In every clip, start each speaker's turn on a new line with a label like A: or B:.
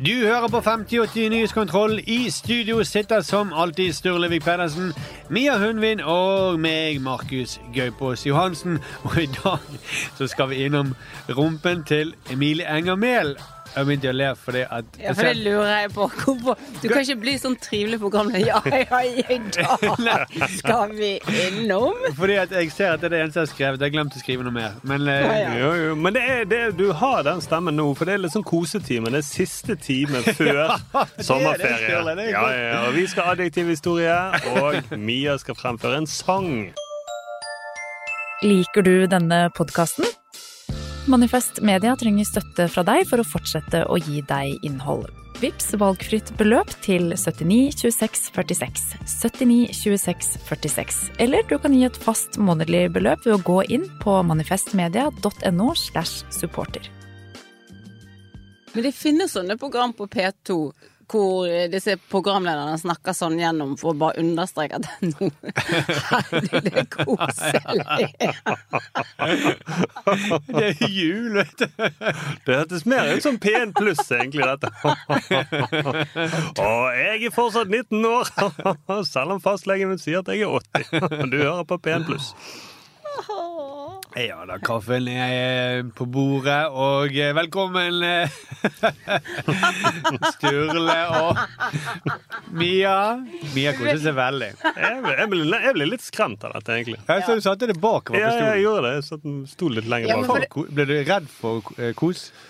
A: Du hører på 5080 Nyhetskontroll. I studio sitter som alltid Sturlevik Pedersen, Mia Hundvin og meg, Markus Gaupås Johansen. Og i dag så skal vi innom rumpen til Emilie Enger Mehl. Jeg begynte å le fordi at
B: Ja, for det lurer jeg på. Hvorfor? Du kan ikke bli sånn trivelig programleder. Ja, ja, i dag skal vi innom
A: Fordi at jeg ser at det er det eneste jeg har skrevet. Jeg har glemt å skrive noe mer. Men eh,
B: Å, ja.
C: Jo, jo, men det er det, du har den stemmen nå, for det er litt sånn kosetime. Det er siste time før
A: det,
C: sommerferie.
A: Sturle, det er
C: ja,
A: godt.
C: ja, og vi skal ha adjektivhistorie, og Mia skal fremføre en sang.
D: Liker du denne podkasten? Manifest Media trenger støtte fra deg for å fortsette å gi deg innhold. Vips valgfritt beløp til 79 26 46. 79 26 46. Eller du kan gi et fast månedlig beløp ved å gå inn på manifestmedia.no slash supporter.
B: Men det finnes sånne program på P2 hvor eh, disse programlederne snakker sånn gjennom for å bare understreke at nå er det koselig.
A: Det er jul, vet du.
C: Det hørtes mer ut som P1 pluss, egentlig, dette. Og jeg er fortsatt 19 år, selv om fastlegen min sier at jeg er 80. Du hører på P1 pluss.
A: Ja da, kaffen er på bordet, og eh, velkommen eh, Sturle og Mia. Mia koser seg veldig.
C: Jeg, jeg, ble, jeg ble litt skremt av dette, egentlig.
A: Jeg så du satte det bakover
C: Ja,
A: på
C: jeg
A: stolen.
C: gjorde det. Jeg satt- sto litt
B: Ja,
C: lenger
B: men
C: bak.
B: for
A: For ko- Ble du redd for eh, kos?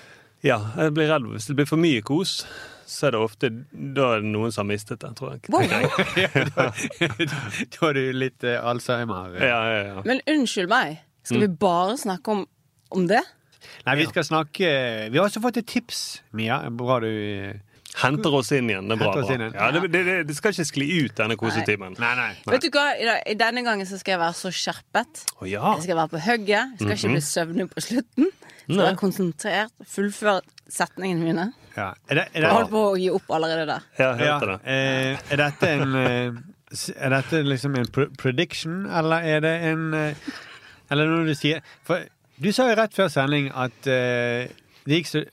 C: Ja, jeg blir redd hvis det blir for mye kos. Så er det ofte da er det noen som har mistet det, tror jeg.
B: Wow.
A: Da er du litt eh, Alzheimer.
C: Ja, ja, ja.
B: Men unnskyld meg, skal vi
C: Mm.
B: bare snakke om, om det?
A: Nei, vi skal snakke Vi har også fått et tips, Mia. Bra du eh,
C: Henter oss inn igjen. Det er bra.
A: Henter oss inn
C: bra.
A: igjen.
C: Ja, det, det, det, det skal ikke skli ut denne kosetimen.
A: Nei, nei.
B: Vet du hva, I dag- i denne gangen så skal jeg være så skjerpet.
C: Å ja. Mhm.
B: Jeg skal være på hugget. Jeg skal ikke bli søvnig på slutten. Jeg skal
C: Nei.
B: være konsentrert, fullføre setningene mine.
A: Ja. Er, det, er,
B: Jeg holdt
A: det,
B: på å gi opp allerede der.
C: Ja,
A: ja,
C: hørte det.
A: eh, er dette en eh, s- Er dette liksom en pre prediction, eller er det en eh, Eller noe du sier For du sa jo rett før sending at eh, det gikk så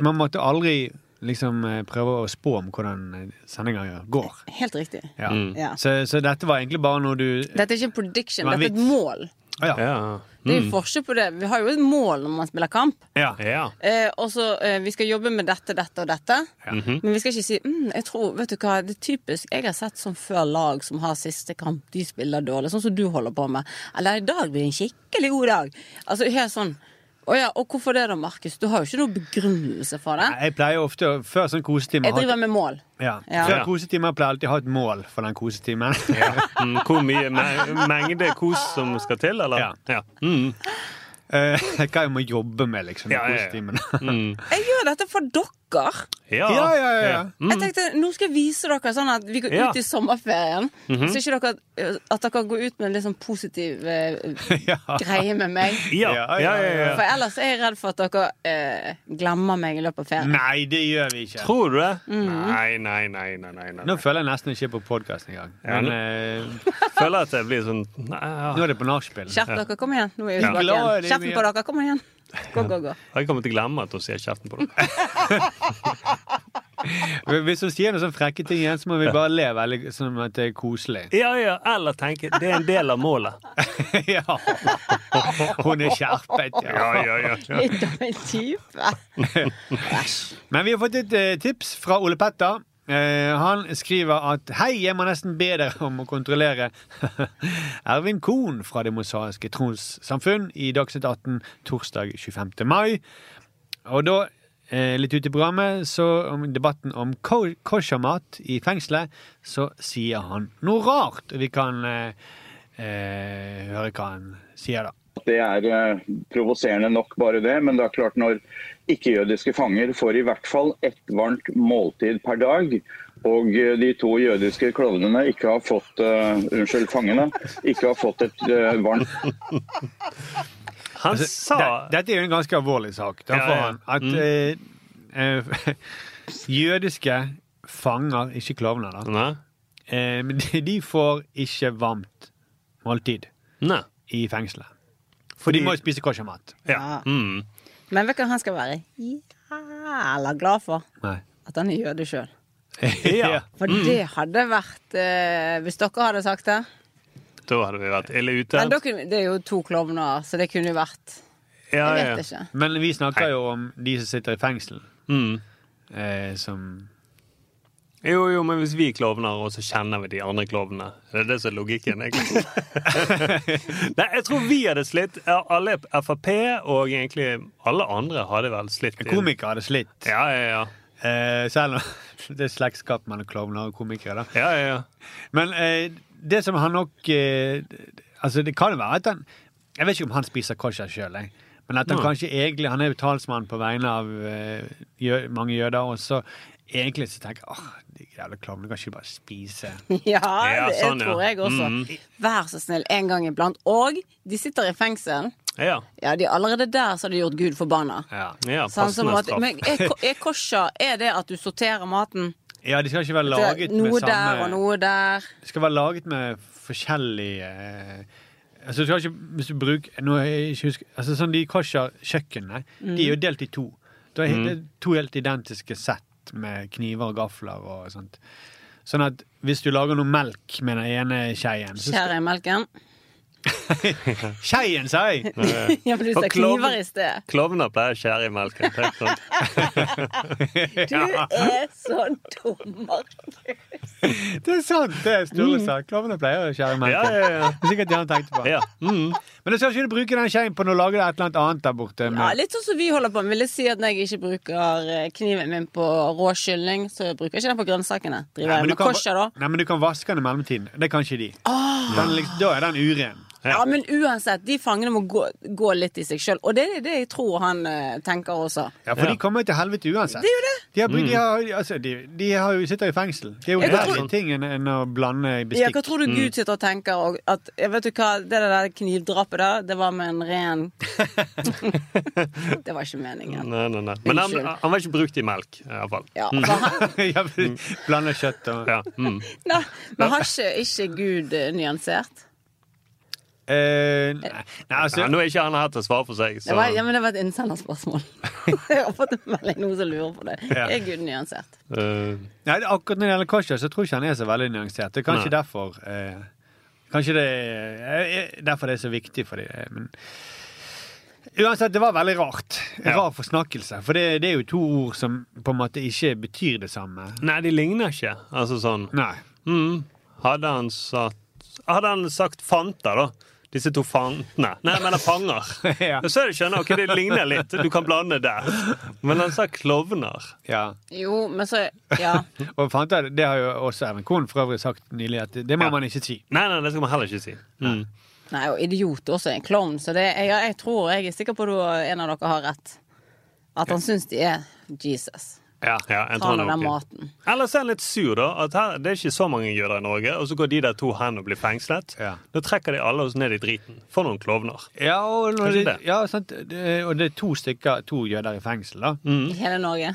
A: Man måtte aldri liksom eh, prøve å spå om hvordan sendinga går.
B: Helt riktig.
A: Ja.
B: Ja.
A: Så, så dette var egentlig bare noe du
B: Dette er ikke en prediction,
A: Det var
B: dette er Mm. et
A: vits.
B: mål.
A: Ja.
C: Ja.
B: Det er jo forskjell på det. Vi har jo et mål når man spiller kamp.
A: ja.
C: ja.
B: Eh, og så eh, Vi skal jobbe med dette, dette og dette. Men vi skal ikke si mm, jeg tror, vet du hva, det er typisk Jeg har sett sånn før lag som har siste kamp, de spiller dårlig. Sånn som du holder på med. Eller i dag blir det en skikkelig god dag. Altså helt sånn Å ja, og hvorfor det da, Markus? Du har jo ikke noen begrunnelse for det.
A: Jeg pleier ofte, å- før sånn kosetime
B: Jeg
A: ha-
B: driver med mål.
A: Ja.
B: Ja.
A: Før kosetimer pleier jeg alltid å ha et mål for den kosetimen.
C: Mm, hvor mye me mengde kos som skal til, eller?
A: Ja.
C: Mm.
A: Eh, Hva jeg må jobbe med, liksom. i
C: Ja, ja, ja.
A: kosetimen.
B: Jeg gjør dette for dere.
C: Mm. Ja.
A: Ja, ja, ja, ja.
B: Jeg tenkte, Nå skal jeg vise dere sånn at vi går
C: Mm. Ja. Mhm.
B: ut i sommerferien. Så ikke dere, eh, at dere går ut med en litt sånn positiv eh,
A: Ja.
B: greie med meg.
C: Ja, ja, ja, ja,
B: For ellers er jeg redd for at dere eh, glemmer meg i løpet av ferien.
A: Nei, det gjør vi ikke.
C: Tror du det? Nei, nei, nei. nei, nei,
A: Nå
C: nei.
A: føler jeg nesten ikke på podkast engang.
C: Ja,
A: Men eh,
C: Føler at det blir sånn nei,
A: nå
C: ja.
A: er det på nachspiel.
B: Skjerp dere, kom igjen. Nå er vi
A: Ja.
B: tilbake
A: Glad i
B: igjen.
A: det,
B: Kjeften på dere, kom igjen. Gå, gå, gå.
C: Jeg kommer til å glemme at hun sier kjeften på dere.
A: Hvis hun sier noen sånne frekke ting igjen, så må vi bare le veldig sånn at det er koselig.
C: Ja, ja, Eller tenke det er en del av målet.
A: ja. Hun er skjerpet, ja.
C: ja, ja, ja.
B: Litt av en type.
A: Men vi har fått et eh, tips fra Ole Petter. Eh, han skriver at Hei, jeg må nesten be dere om å kontrollere Ervin Kohn fra Det mosaiske trossamfunn i Dagsnytt 18 torsdag 25. mai. Og da, eh, litt ut i programmet, så om debatten om ko- koshermat i fengselet, så sier han noe rart. Vi kan eh, eh, høre hva han sier, da.
E: Det er eh, provoserende nok bare det, men det er klart når ikke-jødiske fanger får i hvert fall ett varmt måltid per dag, og eh, de to jødiske klovnene ikke har fått eh, Unnskyld, fangene. Ikke har fått et eh, varmt Altså,
C: Han sa
A: Altså, Det- Dette er jo en ganske alvorlig sak. Da
C: Ja, Mm.
A: får
C: ja.
A: han at eh, eh, jødiske fanger, ikke klovner, da,
C: Nei.
A: eh, men de, de får ikke varmt måltid
C: Nei.
A: i fengselet. For de må jo spise koshermat.
C: Ja. Mm.
B: Men vet du hva han skal være jævla glad for?
A: Nei.
B: At han er jøde sjøl.
C: ja.
B: For det hadde vært eh, Hvis dere hadde sagt det
C: Da hadde vi vært ille ute.
B: Men da kunne, Det er jo to klovner, så det kunne jo vært
C: Ja,
B: Jeg
C: ja.
B: vet ikke.
A: Men vi snakker jo om de som sitter i fengsel,
C: Mm.
A: eh, som
C: Jo, jo, men hvis vi klovner, og så kjenner vi de andre klovnene Det er det som er logikken, egentlig. Nei, jeg tror vi hadde slitt. Ja, Alle Frp og egentlig alle andre hadde vel slitt. i-
A: Komikere hadde slitt.
C: Ja, ja, ja.
A: Eh, selv om det er slektskap mellom klovner og komikere. da.
C: ja, ja, ja.
A: Men eh, det som han nok eh, Altså, det kan jo være at han Jeg vet ikke om han spiser kosher sjøl, jeg. Men at han kanskje egentlig Han er jo talsmann på vegne av eh, jø, mange jøder, og så egentlig så tenker jeg åh, de jævla klovnene kan ikke bare spise.
B: Ja,
C: Ja,
B: det
C: sånn, ja.
B: tror jeg også. Vær så snill, en gang iblant. Og de sitter i fengsel.
C: Ja,
B: Ja, de er allerede der så har de gjort Gud forbanna.
A: Ja,
C: ja
B: Sånn som
C: passende
B: at,
C: straff.
B: men er, ko- er kosher Er det at du sorterer maten?
A: ja de skal ikke være
B: Det er
A: laget
B: Noe
A: med
B: der og
A: samme
B: noe der.
A: De skal være laget med forskjellige eh, Altså, du skal ikke, hvis du bruker nå, er jeg ikke husker, altså, sånn De kosher-kjøkkenene De
C: Mm.
A: er jo delt i to. Det er, det er to helt identiske sett med kniver og gafler og sånt. Sånn at hvis du lager noe melk med den ene skeien så skal-
B: Skjærer i melken.
A: Skeien, sa jeg!
B: Ja, men du sa
C: Og klovn.
B: kniver i sted.
C: Klovner pleier å skjære i melken. det er sant.
B: Du er så dum, Markus.
A: Det er sant! det er Sturle sa. Klovnene pleier å skjære melk.
C: Mm. Ja, ja, ja.
A: Det er Sikkert det han tenkte på.
C: ja. Mm.
A: Men du skal ikke du bruke den skeien på når du lager deg et eller annet annet der borte.
B: Ja,
A: Med.
B: litt sånn som vi holder på med. Vil jeg si at når jeg ikke bruker eh, kniven min på rå kylling, så bruker jeg ikke den på grønnsakene. Driver
A: Nei,
B: jeg
A: men du
B: med
A: kan-
B: kosher, da? Ah.
A: Nei, men du kan vaske den i mellomtiden. Det kan ikke de. Den, liksom, da er den uren.
B: Ja, men uansett, de fangene må gå, gå litt i seg sjøl. Og det er det jeg tror han eh, tenker også.
A: Ja, for de kommer jo til helvete uansett.
B: Det er jo det.
A: De, har, brukt- de, har, altså, de, de har jo sitter jo i fengsel. Det er jo
B: Jeg kan
A: verre
B: tro-
A: ting enn, enn å blande i
B: Ja, hva
A: bestikk.
B: tror du
C: Mm.
B: Gud sitter og tenker? Og at, jeg vet du hva, Det der knivdrapet der, det var med en ren Det var ikke meningen.
C: Nei, nei, nei. Men han,
B: Unnskyld.
C: han var ikke brukt i melk, i hvert fall. Mm.
B: Ja, for han,
A: ja, for- blande kjøtt og
C: Ja, mm.
B: nei, men har ikke, ikke Gud eh, nyansert?
A: eh, Nei, nei, altså
C: ja, nå er ikke han her til å svare for seg,
B: Det
C: så
B: var, ja, men det var et innsenderspørsmål. jeg har fått en melding noen som lurer på det.
A: Ja.
B: Er Gud nyansert?
C: eh,
A: nei, akkurat når det gjelder kosher, så tror jeg ikke han er så veldig nyansert. Det er kanskje
C: Nei.
A: derfor eh, Kanskje det er er derfor det er så viktig for dem. eh, Men uansett, det var veldig rart. En
C: Ja.
A: rar forsnakkelse. For det, det er jo to ord som på en måte ikke betyr det samme.
C: Nei, de ligner ikke. Altså sånn
A: Nei.
C: mm. Hadde han sagt Hadde han sagt Fanta, da? Disse to fantene. Nei, jeg mener fanger.
A: Ja.
C: Og Så er det skjønner, ok, det ligner litt. Du kan blande der. Men han sa klovner.
A: Ja.
B: Jo, men så Ja.
A: Mm. Og Fanta, det har jo også Even Kohn for øvrig sagt nylig, at det må
C: Ja.
A: man ikke si.
C: Nei, nei, det skal man heller ikke si. Mm.
B: Nei, og idiot også er en klovn, så det, jeg, jeg tror jeg er sikker på at en av dere har rett. At han syns de er Jesus.
C: Ja, jeg tror
B: Han og
C: han
B: den
C: er ok.
B: maten.
C: Ellers er han litt sur, da. At her, det er ikke så mange jøder i Norge. Og så går de der to hen og blir fengslet.
A: Ja.
C: Da trekker de alle oss ned i driten. For noen klovner.
A: Ja, og, når
C: Kanskje
A: det,
C: det.
A: ja, sant? Det, og det er to stykker, to jøder i fengsel, da.
B: I hele Norge.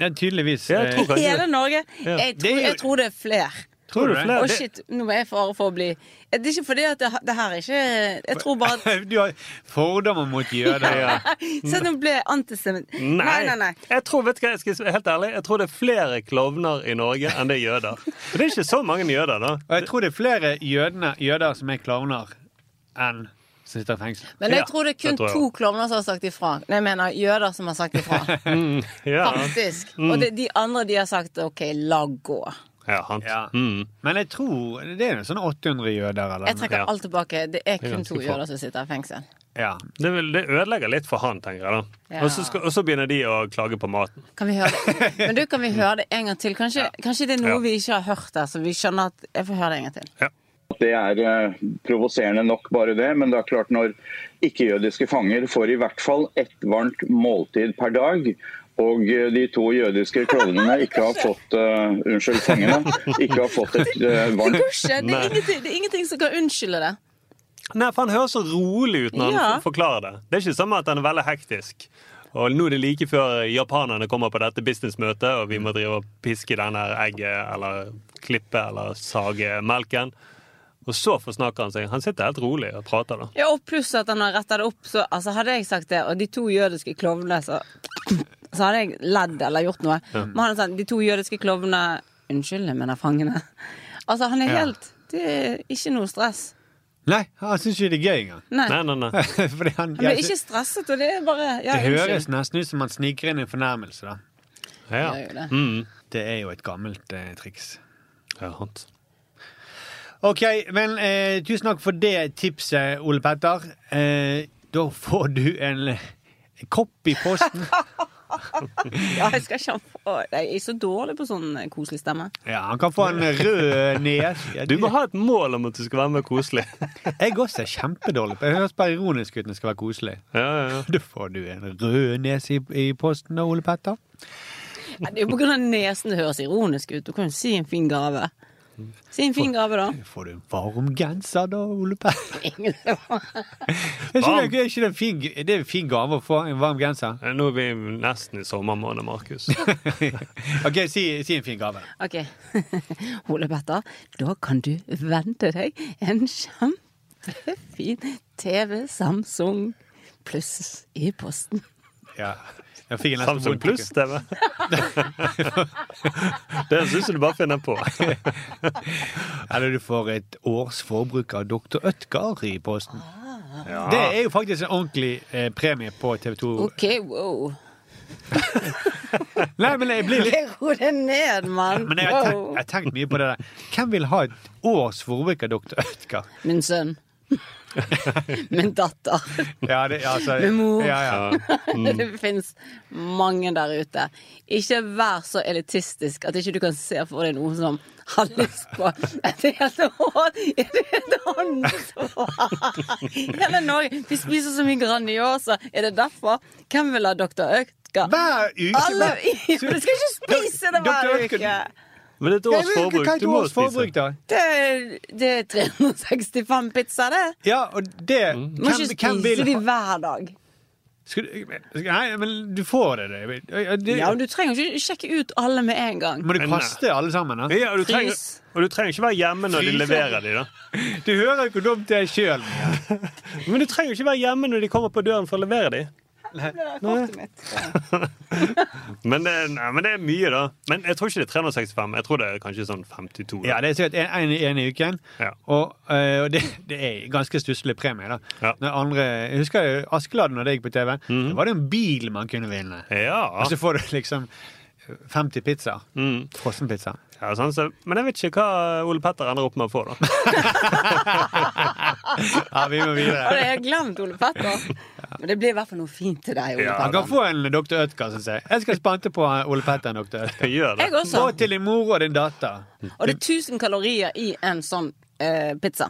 A: Ja, tydeligvis.
C: Mm. Ja, jeg
A: eh,
C: tror
B: I
C: kanskje
B: hele
C: det.
B: Norge!
C: Ja.
B: Jeg
A: Det er
B: tror,
A: jo-
B: jeg tror det er flere.
C: Tror du
B: Å,
C: flere? Det-
B: shit, nå er jeg i fare for å bli Det er ikke fordi at det, det her er ikke Jeg tror bare at
A: du har fordommer mot jøder. ja.
B: Se, nå ble jeg antisemitt. Nei, nei, nei.
C: Jeg tror, vet du hva, jeg skal være helt ærlig, jeg tror det er flere klovner i Norge enn det er jøder. For det er ikke så mange jøder, da.
A: Og jeg tror det er flere jødene, jøder som er klovner, enn som sitter i fengsel.
B: Men jeg
C: Ja,
B: tror det er
C: det
B: kun
C: tror jeg
B: to
C: også.
B: klovner som har sagt ifra. Nei, jeg mener jøder som har sagt ifra.
C: Mm. Ja, Mm.
B: Faktisk. Og det, de andre de har sagt OK, la gå.
C: ja han.
A: Ja.
C: Mm.
A: Men jeg tror det er jo sånn 800 jøder, eller
B: Jeg
A: noe.
B: trekker
C: Ja.
B: alt tilbake. Det er kun
C: ganske
B: to
C: få.
B: jøder som sitter i fengsel.
A: Ja.
C: Det, vil, det ødelegger litt for han, tenker jeg da.
B: Ja.
C: Og, så skal, og så begynner de å klage på maten.
B: Kan vi høre det? Men du, kan vi høre det en gang til? Kanskje, kanskje det er noe
C: Ja.
B: vi ikke har hørt der, så vi skjønner at Jeg får høre det en gang til.
E: At Det er eh, provoserende nok bare det, men det er klart når ikke-jødiske fanger får i hvert fall ett varmt måltid per dag, og eh, de to jødiske klovnene ikke har fått eh, unnskyld, fangene ikke har fått et eh,
B: Det
E: varmt
B: går ikke! Det er, ingenting, det er ingenting som kan unnskylde det.
C: Nei, for han høres så rolig ut når han
B: Ja.
C: f- forklarer det. Det er ikke som at han er veldig hektisk. Og nå er det like før japanerne kommer på dette businessmøtet, og vi må drive og piske denne egget, eller klippe, eller sage melken. Og så forsnakker han seg. Han sitter helt rolig og prater da.
B: Ja, og pluss at han har retta det opp, så altså, hadde jeg sagt det, og de to jødiske klovnene, så Så hadde jeg ledd eller gjort noe. Men han er sånn De to jødiske klovnene Unnskyld, jeg mener fangene. Altså, han er helt Det er ikke noe stress.
A: Nei, han syns ikke det er gøy engang.
B: Nei.
C: Nei, nei, nei.
A: Fordi han,
B: Han blir ikke stresset, og det er bare Ja,
A: det høres
B: unnskyld.
A: nesten ut som han sniker inn en fornærmelse, da.
C: Ja,
B: Gjør jo det.
C: Mm.
A: Det er jo et gammelt eh, triks.
C: ja sant.
A: Ok, vel, eh, tusen takk for det tipset, Ole Petter. Eh, da får du en eh, kopp i posten.
B: Ja, jeg skal ikke ha på Jeg er så dårlig på sånn koselig stemme.
A: Ja, han kan få en rød nese.
C: Du må ha et mål om at du skal være med koselig.
A: Jeg også er kjempedårlig. på- Jeg høres bare ironisk ut når det skal være koselig.
C: Ja, ja, ja.
A: Da får du en rød nese i, i posten da, Ole Petter.
B: Ja, Det er jo på grunn av nesen det høres ironisk ut. Du kan jo si en fin gave. Si en fin gave, da.
A: Da får du en varm genser da, Ole Petter.
B: Ingen
A: Er ikke,
C: Varm. Eh,
A: det, er ikke det, en fin, det er en fin gave å få en varm genser?
C: Nå er vi nesten i sommermåned, Markus.
A: Ok, si, si en fin gave.
B: Ok. Ole Petter, da kan du vente deg en kjempefin TV Samsung pluss i posten.
A: Ja. Jeg fikk en nesten
C: Samsung
A: vond tanke.
C: Pluss TV. Det syns jeg du bare finner på.
A: Eller du får et års forbruk av Dr. Ødgar i posten.
C: Ah.
A: Det er jo faktisk en ordentlig eh, premie på TV 2.
B: Ok, wow.
A: Nei, men jeg blir litt
B: Ro deg ned, mann.
A: men jeg har, tenkt, jeg
B: Wow.
A: har tenkt mye på det der. Hvem vil ha et års forbruk av Dr. Ødgar?
B: Min sønn. Min datter.
A: Ja, det, altså,
B: Med mor.
A: Ja, ja. Mm.
B: Det fins mange der ute. Ikke vær så elitistisk at ikke du kan se for deg noen som har lyst på et helt år i et helt håndsvar. Hele Norge. Vi spiser så mye Grandiosa. Er det derfor? Hvem vil ha Dr. Økka?
A: Hver uke
B: Alle
A: hver-
B: i- Du skal ikke spise det
A: Dr.
B: hver
A: Ødgar-
B: uke!
C: Men det er et
A: Nei,
C: års
A: men
C: forbruk.
A: Hva er et
C: Du må
A: års forbruk,
C: spise.
A: da?
B: Det er, det er 365 pizzaer, det.
A: Ja, og det
C: Mm.
B: Du må ikke
A: hvem, hvem vil
B: spise de
A: ha-
B: hver dag.
A: skal, du- skal, Nei, men du får det. det. det
B: Ja, men Du trenger ikke sjekke ut alle med en gang.
A: Må du kaste alle sammen? da?
C: eh, Ja, og, du trenger,
B: Frys.
C: og du trenger ikke være hjemme når de
A: Fryser.
C: leverer de da.
A: Du hører jo hvor dumt det er sjøl.
C: Men du trenger ikke være hjemme når de kommer på døren for å levere de. Men det, er- nei, men det er mye, da. Men jeg tror ikke det er 365. Jeg tror det er kanskje sånn 52. Da.
A: Ja, det er sikkert en, en, en i uken.
C: Ja.
A: Og, eh, og det, det er ganske stusslig premie. da.
C: Ja. Mhm.
A: Når andre, jeg husker jo Askeladden og det gikk på TV. Da var det en bil man kunne vinne.
C: Ja.
A: Og så får du liksom 50 pizzaer.
C: Mm.
A: Frossenpizza.
C: Ja, sånn, så, men jeg vet ikke hva Ole Petter ender opp med å få, da.
A: Ja, vi må
B: Og det
A: videre.
B: har jeg glemt Ole Petter. Men det blir i hvert fall noe fint til deg, Ole
C: Ja,
A: Han
B: Petter.
A: kan få en Dr. Ødker, syns jeg. Jeg skal spante på Ole Petter en Dr. Ødker.
C: Gjør det.
B: Jeg også.
A: Gå til din mor og din datter.
B: Og det er 1000 kalorier i en sånn eh, pizza.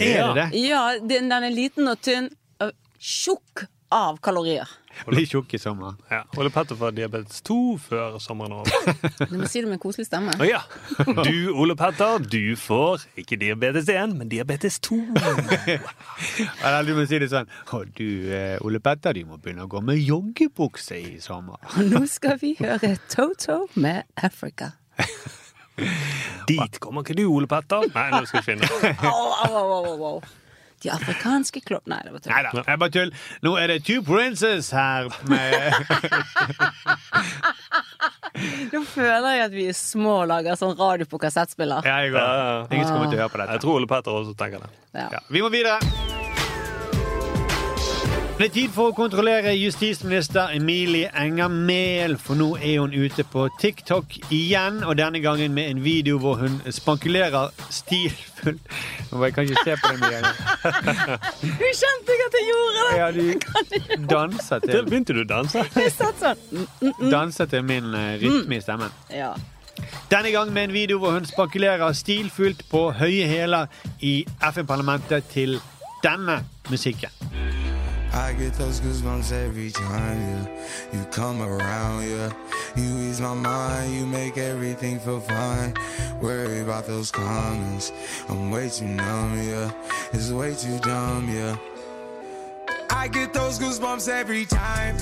A: Er det det?
B: Ja, den, den er liten og tynn. og Tjukk av kalorier.
A: Bli tjukk i sommer.
C: Ja. Ole Petter får diabetes 2 før sommeren er over.
B: Du må si det med en koselig stemme.
C: Å ja. Du, Ole Petter, du får ikke diabetes 1, men diabetes 2.
A: Eller du må si det sånn Å, du, eh, Ole Petter, du må begynne å gå med joggebukse i sommer.
B: Og nå skal vi høre Toto med Africa.
C: Dit kommer ikke du, Ole Petter. Nei, nå skal jeg finne.
B: Au, au, au, au, au, au. De afrikanske klopp... Nei, det var tull.
A: Nei da, jeg bare tull. Nå er det Two Princes her med
B: Nå føler jeg at vi er små og lager sånn radio på kassettspiller.
A: Ja, jeg går. Ingen som kommer til å høre på dette.
C: Jeg tror Ole Petter også tenker det.
B: Ja.
A: Ja, vi må videre. Det er tid for å kontrollere justisminister Emilie Enger Mehl, for nå er hun ute på TikTok igjen, og denne gangen med en video hvor hun spankulerer stilfull Nå, Jeg kan ikke se på den mye.
B: Du kjente jeg at jeg gjorde det!
A: Ja, du danser
C: Til
A: til,
C: begynte du å danse.
B: Jeg satt sånn. Mm, mm, mm.
A: danser til min eh, rytme i stemmen.
B: Ja.
A: Denne gang med en video hvor hun spankulerer stilfullt på høye hæler i FN-parlamentet til denne musikken.
F: I get those goosebumps every time yeah. you come around, yeah. You ease my mind, you make everything feel fine. Worry about those comments, I'm way too numb, yeah. It's way too dumb, yeah. I get those goosebumps every time.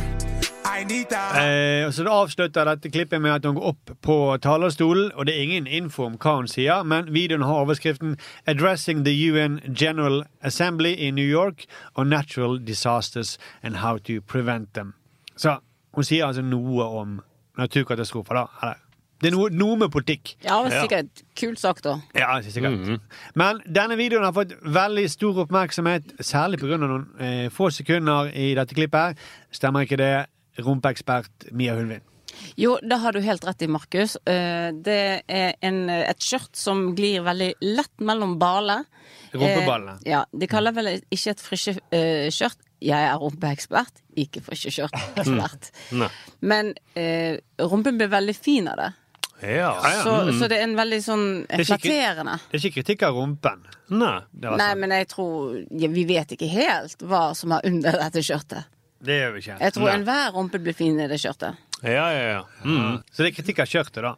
F: I need that.
A: Eh, og så avslutter dette klippet med at hun går opp på talerstolen, og det er ingen info om hva hun sier, men videoen har overskriften 'Addressing the UN General Assembly in New York on Natural Disasters and How to Prevent Them'. Så hun sier altså noe om naturkatastrofer, da. Eller, det er noe, noe med politikk.
B: ja, det var sikkert kult sagt, da.
A: Ja, sikkert. Men denne videoen har fått veldig stor oppmerksomhet, særlig pga. noen eh, få sekunder i dette klippet. Stemmer ikke det, rumpeekspert Mia Hundvin?
B: Jo, det har du helt rett i, Markus. Eh, Det er en, et skjørt som glir veldig lett mellom baler.
A: Rumpeballene.
B: Eh, Ja, De kaller vel ikke et frysjeskjørt. Jeg er rumpeekspert, ikke frysjeskjørtekspert.
A: Mm.
C: Nei.
B: Men eh, rumpen blir veldig fin av det.
C: Ja. Mm.
B: Så, så det er en veldig sånn eh,
A: Det er skikkelig-
B: flatterende.
A: Det er ikke kritikk av rumpen.
C: Nei.
A: Det, var sånn.
B: Nei,
A: sant.
B: men jeg tror ja, Vi vet ikke helt hva som er under dette skjørtet.
A: det gjør vi ikke.
B: Jeg tror
C: Nei.
B: enhver rumpe blir fin i det skjørtet.
C: Ja, ja, ja. Mm.
A: Så det er kritikk av skjørtet, da.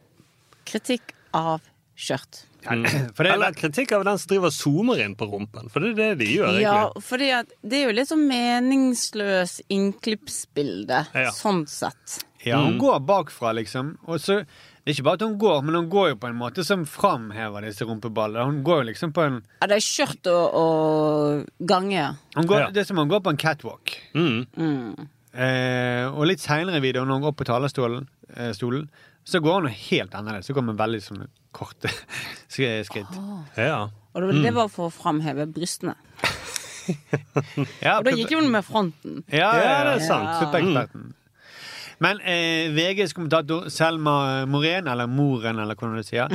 B: Kritikk av skjørt.
A: For det er
C: Eller kritikk av den som driver og zoomer inn på rumpen, for det er det de gjør,
B: Ja,
C: egentlig.
B: fordi at det er jo litt sånn meningsløs innklippsbilde,
C: Ja.
B: sånn sett.
A: ja, hun går bakfra, liksom. Og så, det er ikke bare at hun går, men hun går jo på en måte som framhever disse rumpeballene. Hun går jo liksom på en
B: Ja, det er skjørt og, og gange.
A: hun går,
C: Ja.
A: Det er som om hun går på en catwalk.
C: Mm.
A: Eh, og litt seinere i videoen, når hun går opp på talerstolen, eh, stolen, så går hun helt annerledes. Så går hun med veldig sånne korte skri- skritt.
C: Ja.
B: Og
C: Mm.
B: det, det var for å framheve brystene.
A: Ja,
B: Og da gikk hun med fronten.
A: ja, ja,
C: Ja, det er sant. Mm.
A: Suppereksperten. Men eh, VGs kommentator Selma Morén, eller Moren, eller hvordan du sier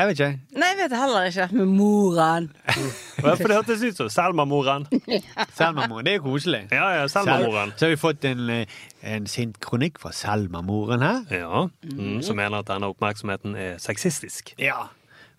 A: Jeg vet ikke.
B: Nei, jeg vet heller ikke. Med moren.
C: Ja, For det hørtes ut som Selma-moren.
A: Selma Moren, det er jo koselig.
C: Ja, ja, Selma-moren.
A: Så har vi fått en, eh, en sint kronikk fra Selma Moren her.
C: Ja. Mm. Som mener at denne oppmerksomheten er sexistisk.
A: Ja,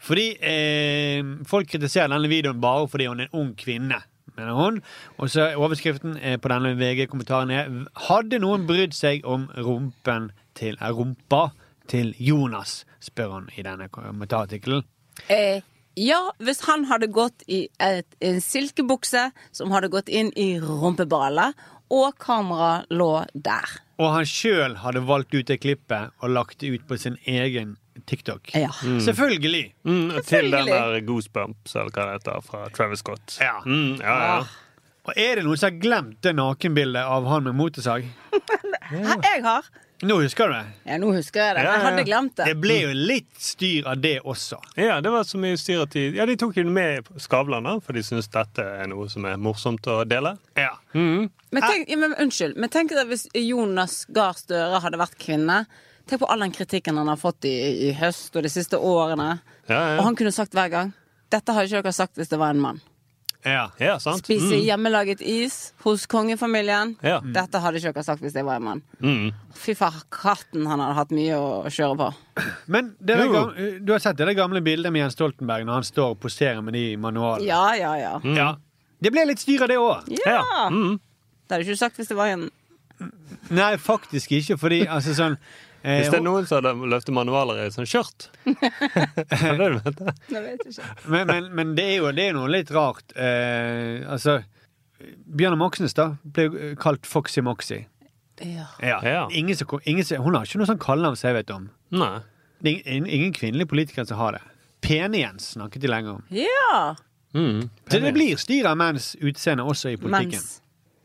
A: fordi eh, folk kritiserer denne videoen bare fordi hun er en ung kvinne, mener hun. Og så er overskriften eh, på denne VG-kommentaren er Hadde noen brydd seg om rumpen til eh, rumpa til Jonas, spør hun i denne kommentarartikkelen.
B: Eh, ja, hvis han hadde gått i et, en silkebukse som hadde gått inn i rumpeballet, og kameraet lå der.
A: Og han sjøl hadde valgt ut det klippet og lagt det ut på sin egen TikTok.
B: Ja.
A: Selvfølgelig!
C: Mm, til den der
B: Selvfølgelig.
C: Goosebumps, eller hva det heter, fra Travis Scott.
A: Ja.
C: Mm, ja, ja.
B: Ah.
A: Og er det noen som har glemt det nakenbildet av han med motorsag?
B: Hæ, jeg har.
A: Nå husker du det.
B: Ja, nå husker jeg det.
C: Ja,
B: Jeg
C: ja.
B: hadde glemt det.
A: Det ble jo litt styr av det også.
C: Ja, det var så mye styr at de Ja, de tok jo med Skavlan, da, for de syns dette er noe som er morsomt å dele.
A: Ja.
C: Ah.
B: Men tenk, ja, men, unnskyld, men tenk deg hvis Jonas Gahr Støre hadde vært kvinne. Tenk på all den kritikken han har fått i, i høst og de siste årene.
C: Ja, ja.
B: Og han kunne sagt hver gang Dette har ikke dere sagt hvis det var en mann.
A: ja.
C: Ja, sant?
B: Spise hjemmelaget is hos kongefamilien.
C: Mm. Ja. Mm.
B: Dette hadde ikke dere sagt hvis det var en mann. Fy faen, han hadde hatt mye å kjøre på.
A: Men det der
C: Jo.
A: gamle, du har sett det der gamle bildet med Jens Stoltenberg når han står og poserer med de manualene?
B: Ja, ja, ja.
A: Ja. Det ble litt styr av det òg.
B: Ja!
C: Mm. Ja, Mm.
B: Det hadde du ikke sagt hvis det var en
A: Nei, faktisk ikke, fordi altså sånn eh,
C: Hvis det er noen som hadde løftet manualer i sånn skjørt Er det det du mente?
B: Jeg vet ikke.
A: Men, men, men det er jo det er noe litt rart. Eh, altså Bjørnar Moxnes da ble jo kalt Foxy Moxy.
B: Ja.
C: Ja.
A: Ingen som, ingen som, hun har ikke noe sånn kallenavn som jeg vet om.
C: Nei.
A: Det er ingen, ingen kvinnelige politikere som har det. Pene-Jens snakket de lenge om.
B: ja.
C: Mm.
A: Så det blir styr av menns utseende også i politikken.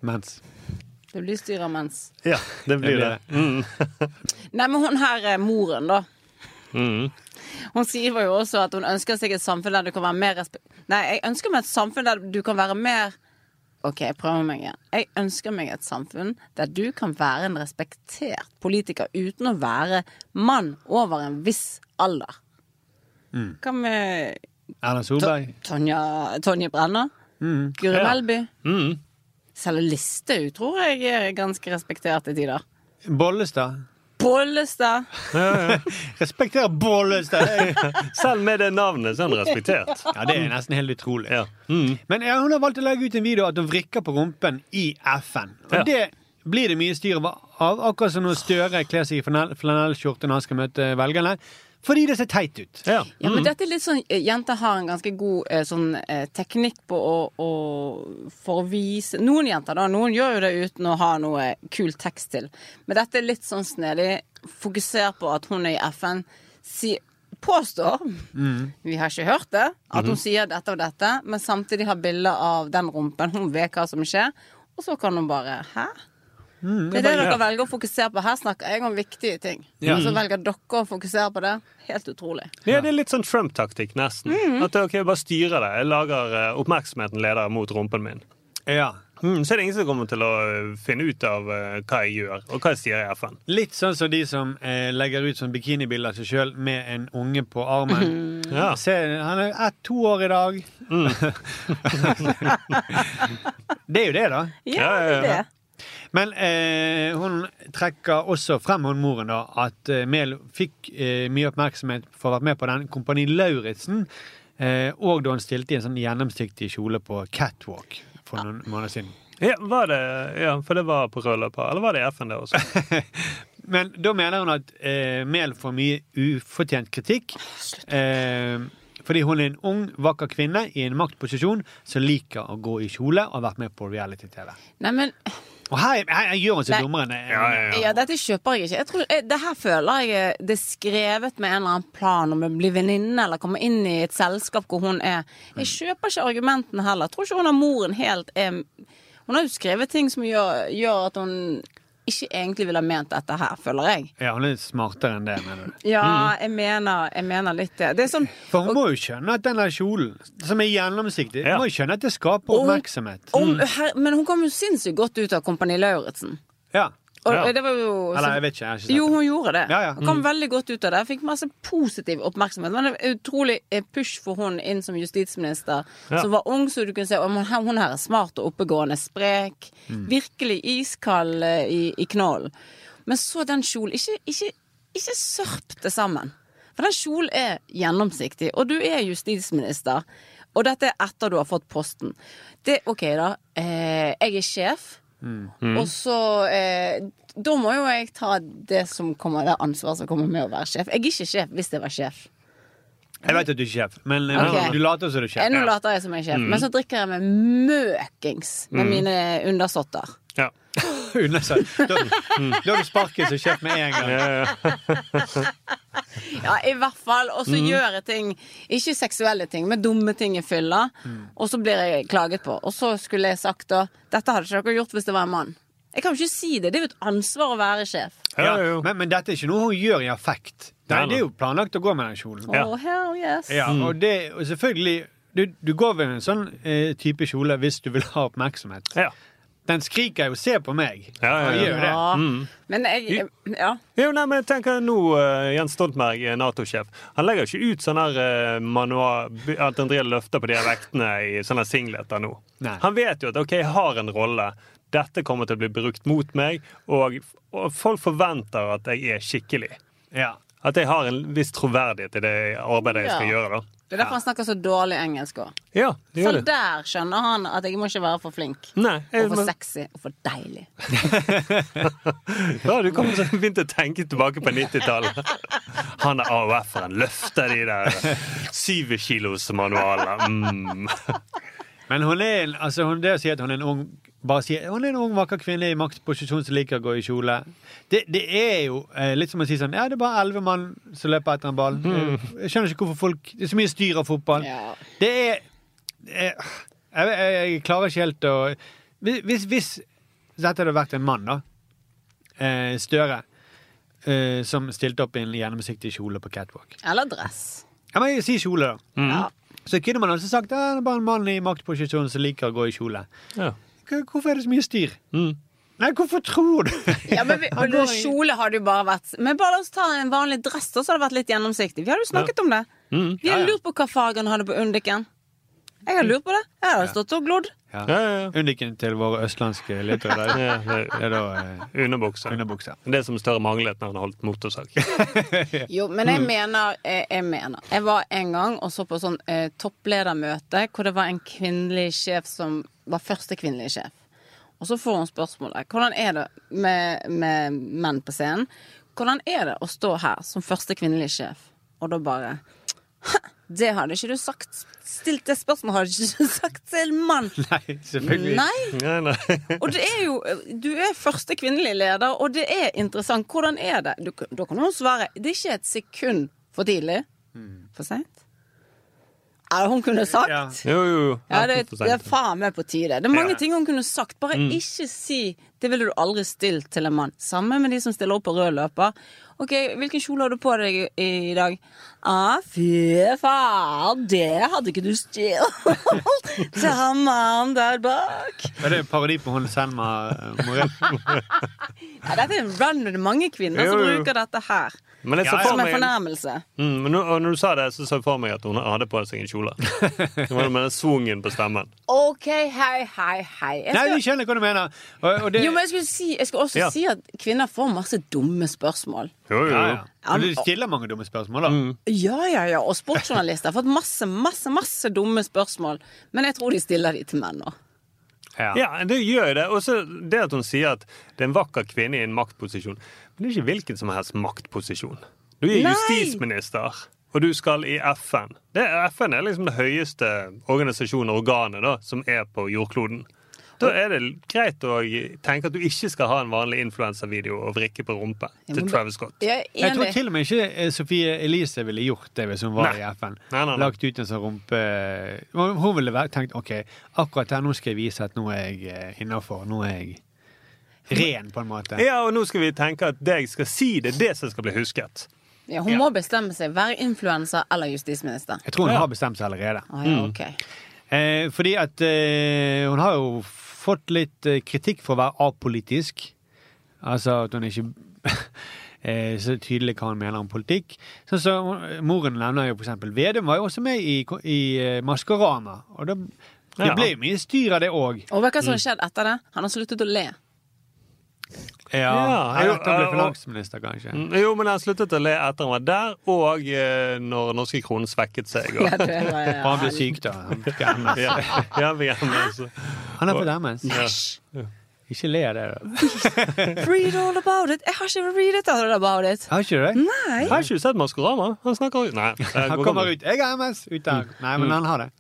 B: Mens.
A: Mens.
B: Det blir styr av mens.
C: Ja, det blir det.
A: Det
B: Nei, men hun her er moren, da.
C: Mm.
B: Hun skriver jo også at hun ønsker seg et samfunn der du kan være mer respe... Nei, jeg ønsker meg et samfunn der du kan være mer OK, jeg prøver meg igjen. Jeg ønsker meg et samfunn der du kan være en respektert politiker uten å være mann over en viss alder. Hva med
A: Erna
B: to
A: Solberg.
B: Tonja, Tonje Brenna? Guri
C: Ja.
B: Melby?
C: Mm.
B: Selv Listhaug tror jeg er ganske respektert i tider.
A: Bollestad.
B: Bollestad.
A: Respekter Bollestad! jeg.
C: Selv med det navnet så er han respektert.
A: Ja, det er nesten helt utrolig.
C: Ja. Mm.
A: Men Mm. ja, hun har valgt å legge ut en video at hun vrikker på rumpen i FN. Og
C: Ja.
A: det blir det mye styr av, akkurat som når Støre kler seg i flanell- flanellskjorte når han skal møte velgerne. Fordi det ser teit ut.
C: Ja.
B: Ja, men dette er litt sånn eh, Jenter har en ganske god eh, sånn, eh, teknikk på å, å For å vise Noen jenter, da. Noen gjør jo det uten å ha noe kul tekst til. Men dette er litt sånn snedig. Fokuser på at hun er i FN. Si, påstår Vi har ikke hørt det. At hun sier dette og dette, men samtidig har bilder av den rumpen. Hun vet hva som skjer. Og så kan hun bare Hæ? det er det dere velger å fokusere på. Her snakker jeg om viktige ting. Og så velger dere å fokusere på det. Helt utrolig.
C: Ja, det er litt sånn Trump-taktikk, nesten. At ok, jeg bare styrer det. Jeg lager eh, oppmerksomheten leder mot rumpen min.
A: Ja.
C: Mm, så er det ingen som kommer til å eh, finne ut av eh, hva jeg gjør, og hva jeg sier i FN.
A: Litt sånn som de som eh, legger ut sånn bikinibilder av seg sjøl med en unge på armen.
C: Ja. Mm.
A: Se, han er ett, to år i dag. det er jo det, da.
B: Ja,
C: Ja, ja,
B: det
C: ja.
B: er det.
A: Men eh, hun trekker også frem hun moren da, at eh, Mehl fikk eh, mye oppmerksomhet for å ha vært med på den Kompani Lauritzen, eh, og da hun stilte i en sånn gjennomsiktig kjole på catwalk for noen måneder siden.
C: Ja, var det, ja, for det var på rød løper. Eller var det i FN, det også?
A: Men da mener hun at eh, Mehl får mye ufortjent kritikk. Eh, fordi hun er en ung, vakker kvinne i en maktposisjon som liker å gå i kjole og har vært med på reality-TV.
B: Nei, men
A: Og her, her gjør hun
B: Nei.
A: seg dummere enn
B: ja, Dette kjøper jeg ikke. Jeg tror, eh, det her føler jeg eh, det er skrevet med en eller annen plan om å bli venninne eller komme inn i et selskap hvor hun er. Jeg kjøper ikke argumentene heller. Jeg tror ikke hun har moren helt er Hun har jo skrevet ting som gjør, gjør at hun ikke egentlig ville ha ment dette her, føler jeg.
A: Ja, hun er smartere enn det, mener du.
B: Ja, jeg mener, jeg mener litt det. Det er sånn
A: For hun må jo skjønne at den der kjolen, som er gjennomsiktig,
C: Ja.
A: hun må jo skjønne at det skaper
B: Og-
A: oppmerksomhet.
B: om, her, Men hun kom jo sinnssykt godt ut av Kompani Lauritzen.
A: Ja.
B: Og
C: Ja.
B: det var jo
A: Eller jeg vet ikke. jeg har ikke sett
B: Jo,
A: det.
B: hun gjorde det.
A: Ja, Mm. ja.
B: Hun kom veldig godt ut av det. Fikk masse positiv oppmerksomhet. Men det var en utrolig eh, push for hun inn som justisminister,
C: Ja.
B: som var ung, så du kunne se om hun her- hun her er smart og oppegående, sprek.
A: Mm.
B: Virkelig iskald eh, i, i knollen. Men så den kjolen. Ikke, ikke, ikke sørp det sammen. For den kjolen er gjennomsiktig, og du er justisminister. Og dette er etter du har fått posten. Det, OK, da. Eh, jeg er sjef.
A: Mm.
B: Og så eh, Da må jo jeg ta det som kommer det ansvaret som kommer med å være sjef. Jeg er ikke sjef hvis jeg var sjef.
A: Jeg vet at du er sjef, men eh,
B: Ok.
A: du later som du er
B: Eh,
A: sjef.
B: Nå later jeg som jeg er
A: Mm.
B: sjef, men så drikker jeg meg møkings med mine undersåtter.
C: Ja.
A: Under seg. sånn, Da, mm, da har du sparket som sjef med en gang.
B: Ja, i hvert fall. Og så
A: Mm.
B: gjør jeg ting, ikke seksuelle ting, men dumme ting i
A: Mm.
B: fylla. Og så blir jeg klaget på. Og så skulle jeg sagt da Dette hadde ikke dere gjort hvis det var en mann. Jeg kan jo ikke si det. Det er jo et ansvar å være sjef.
C: Ja,
A: Ja,
C: jo.
A: men, men dette er ikke noe hun gjør i affekt. Nei,
C: Nei, nei.
A: det er jo planlagt å gå med den kjolen.
C: Ja. Mm.
B: Oh, hell yes.
A: Ja, og det, og selvfølgelig du, du går ved en sånn eh, type kjole hvis du vil ha oppmerksomhet.
C: Ja.
A: Den skriker jo 'se på meg'.
C: Ja, ja,
A: Og
C: ja.
A: gjør det. Mm.
B: Ja. Men jeg Ja.
C: Jo, nei, men jeg tenker nå eh, Jens Stoltenberg er Nato-sjef. Han legger ikke ut sånn her eh, manual At han driver og løfter på de her vektene i sånne her singleter nå.
A: Nei.
C: Han vet jo at OK, jeg har en rolle. Dette kommer til å bli brukt mot meg, og, og folk forventer at jeg er skikkelig.
A: Ja.
C: At jeg har en viss troverdighet i det arbeidet jeg skal
B: Ja.
C: gjøre, da.
B: Det er derfor han snakker så dårlig engelsk òg.
C: Ja, det
B: For
C: gjør det.
B: der skjønner han at jeg må ikke være for flink.
C: Nei, jeg,
B: Og for
C: men,
B: sexy og for deilig.
C: ja, du kommer så fint til å tenke tilbake på 90-tallet. Han er AUF-eren. Løfter de der syvkilosmanualene. Mm.
A: Men hun er, en- altså, hun, det å si at hun er en ung bare si, hun er en ung, vakker kvinne i maktposisjon som liker å gå i kjole. Det, det er jo eh, litt som å si sånn Ja, det er bare elleve mann som løper etter en ball. Eh, Jeg skjønner ikke hvorfor folk Det er så mye styr av fotball.
B: Ja.
A: Det er jeg, jeg, jeg klarer ikke helt å Hvis, hvis, hvis dette hadde vært en mann, da. Eh, Støre. Eh, som stilte opp i en gjennomsiktig kjole på catwalk.
B: Eller dress.
A: Ja, men Si kjole, da.
C: Mm.
B: Ja.
A: Så kunne man altså sagt at det er bare en mann i maktposisjon som liker å gå i kjole.
C: Ja. Mm.
A: K- Hvorfor er det så mye styr? Nei, hvorfor tror du
B: Ja, men vi,
A: Han går i-
B: Kjole har det jo bare vært Men bare la oss ta en vanlig dress, da, så har det vært litt gjennomsiktig. Vi har jo snakket om det.
C: Mm.
B: Vi har lurt på hva farge han hadde på underken. Jeg har lurt på det. Jeg har stått og glodd.
C: Ja, ja,
A: Undiken til våre østlandske lyttere der.
C: ja. ja det-
A: Det er da eh,
C: Underbukse.
A: underbukser.
C: Det som Støre manglet når han holdt motorsag.
B: Jo, men
A: Mm.
B: jeg mener Jeg, jeg mener. Jeg var en gang og så på sånn eh, toppledermøte hvor det var en kvinnelig sjef som var første kvinnelige sjef. Og så får hun spørsmålet hvordan er det med, med menn på scenen. Hvordan er det å stå her som første kvinnelige sjef? Og da bare «Hæ, Det hadde ikke du sagt. Stilt det spørsmålet hadde ikke du sagt til en mann.
A: Nei, selvfølgelig.
B: Nei.
C: Nei, nei.
B: Og det er jo, du er første kvinnelige leder, og det er interessant. Hvordan er det? Du, da kan hun svare det er ikke et sekund for tidlig. For seint? Mm. Ja, hun kunne sagt.
A: Ja.
B: Ja,
C: Jo, jo, jo.
B: det, det
C: for
B: Mm. er
C: sent.
B: faen meg på tide. Det er mange
C: Ja.
B: ting hun kunne sagt. Bare ikke si 'det ville du aldri stilt til en mann'. Samme med de som stiller opp på rød løper. Ok, Hvilken kjole har du på deg i, i dag? ah, fy faen, det hadde ikke du stjålet til han mannen der bak.
A: Er det en parodi på hun Selma eh, Morell?
B: Ja, dette er en run, men det er mange kvinner som
C: Jo, jo.
B: bruker dette her.
C: Men jeg så
A: Ja, ja.
C: for
B: Som en
C: meg mm,
B: fornærmelse.
C: men nå- og når du sa det, så så jeg for meg at hun hadde på seg en kjole. Det var med den svungen på stemmen.
B: OK, hei, hei, hei. Jeg
A: Nei,
B: skal,
A: vi skjønner hva du mener. Og, og det,
B: jo, men jeg, skulle si, jeg skal også
C: Ja.
B: si at kvinner får masse dumme spørsmål.
C: Jo, jo,
A: ja,
C: jo.
A: ja. Men du stiller mange dumme spørsmål, da.
C: Mm.
B: Ja, ja, ja. Og sportsjournalister har fått masse, masse masse dumme spørsmål. Men jeg tror de stiller de til menn nå.
C: Ja, det gjør jo det. Og så det at hun sier at det er en vakker kvinne i en maktposisjon. Men det er ikke hvilken som helst maktposisjon. Du er
B: Nei.
C: justisminister, og du skal i FN. Det, er- FN er liksom det høyeste organisasjonen og organet da, som er på jordkloden. Da er det greit å tenke at du ikke skal ha en vanlig influensavideo og vrikke på rumpe til
B: men-
C: Travis Scott.
B: Jeg er
A: Jeg tror
B: enig.
A: til og med ikke eh, Sofie Elise ville gjort det hvis hun var
C: Nei.
A: i FN.
C: Nei, nei, nei.
A: Lagt ut en sånn rumpe Hun hun ville vært- tenkt OK, akkurat her nå skal jeg vise at nå er jeg innafor. Nå er jeg ren, på en måte.
C: Ja, og nå skal vi tenke at det jeg skal si, det er det som skal bli husket.
B: Ja, hun må bestemme seg. Være influenser eller justisminister.
A: Jeg tror hun har bestemt seg allerede.
B: Å, ja,
C: Mm.
B: ok.
A: Eh, fordi at eh, hun har jo fått litt eh, kritikk for å være apolitisk. Altså at hun ikke eh, så tydelig hva hun mener om politikk. Sånn så hun- Moren nevner jo for eksempel Vedum var jo også med i, ko- i eh, Maskorama. Og det, det
C: Ja.
A: ble jo mye styr av det òg.
B: Og vet du hva som har skjedd etter det? Han har sluttet å le.
C: Ja,
A: Eller at han ble
C: og-
A: finansminister, kanskje.
C: Mm, Jo, men han sluttet å le etter han var der, og eh, når norske kronen svekket seg. Og,
B: Ja, det var,
A: Og han ble syk, da. Han fikk MS.
C: ja, ja, vi er altså. med, så.
A: Han har fått MS. Ikke le av det, da.
B: Read all about it. Jeg har ikke read all about it.
A: Har ikke du det?
B: Nei.
C: Jeg har ikke sett Maskorama. Han snakker Nei. jeg
A: Han
C: går Mm.
A: kommer
C: gammel.
A: ut. 'Jeg har MS!' Ut der. Nei, men han har det.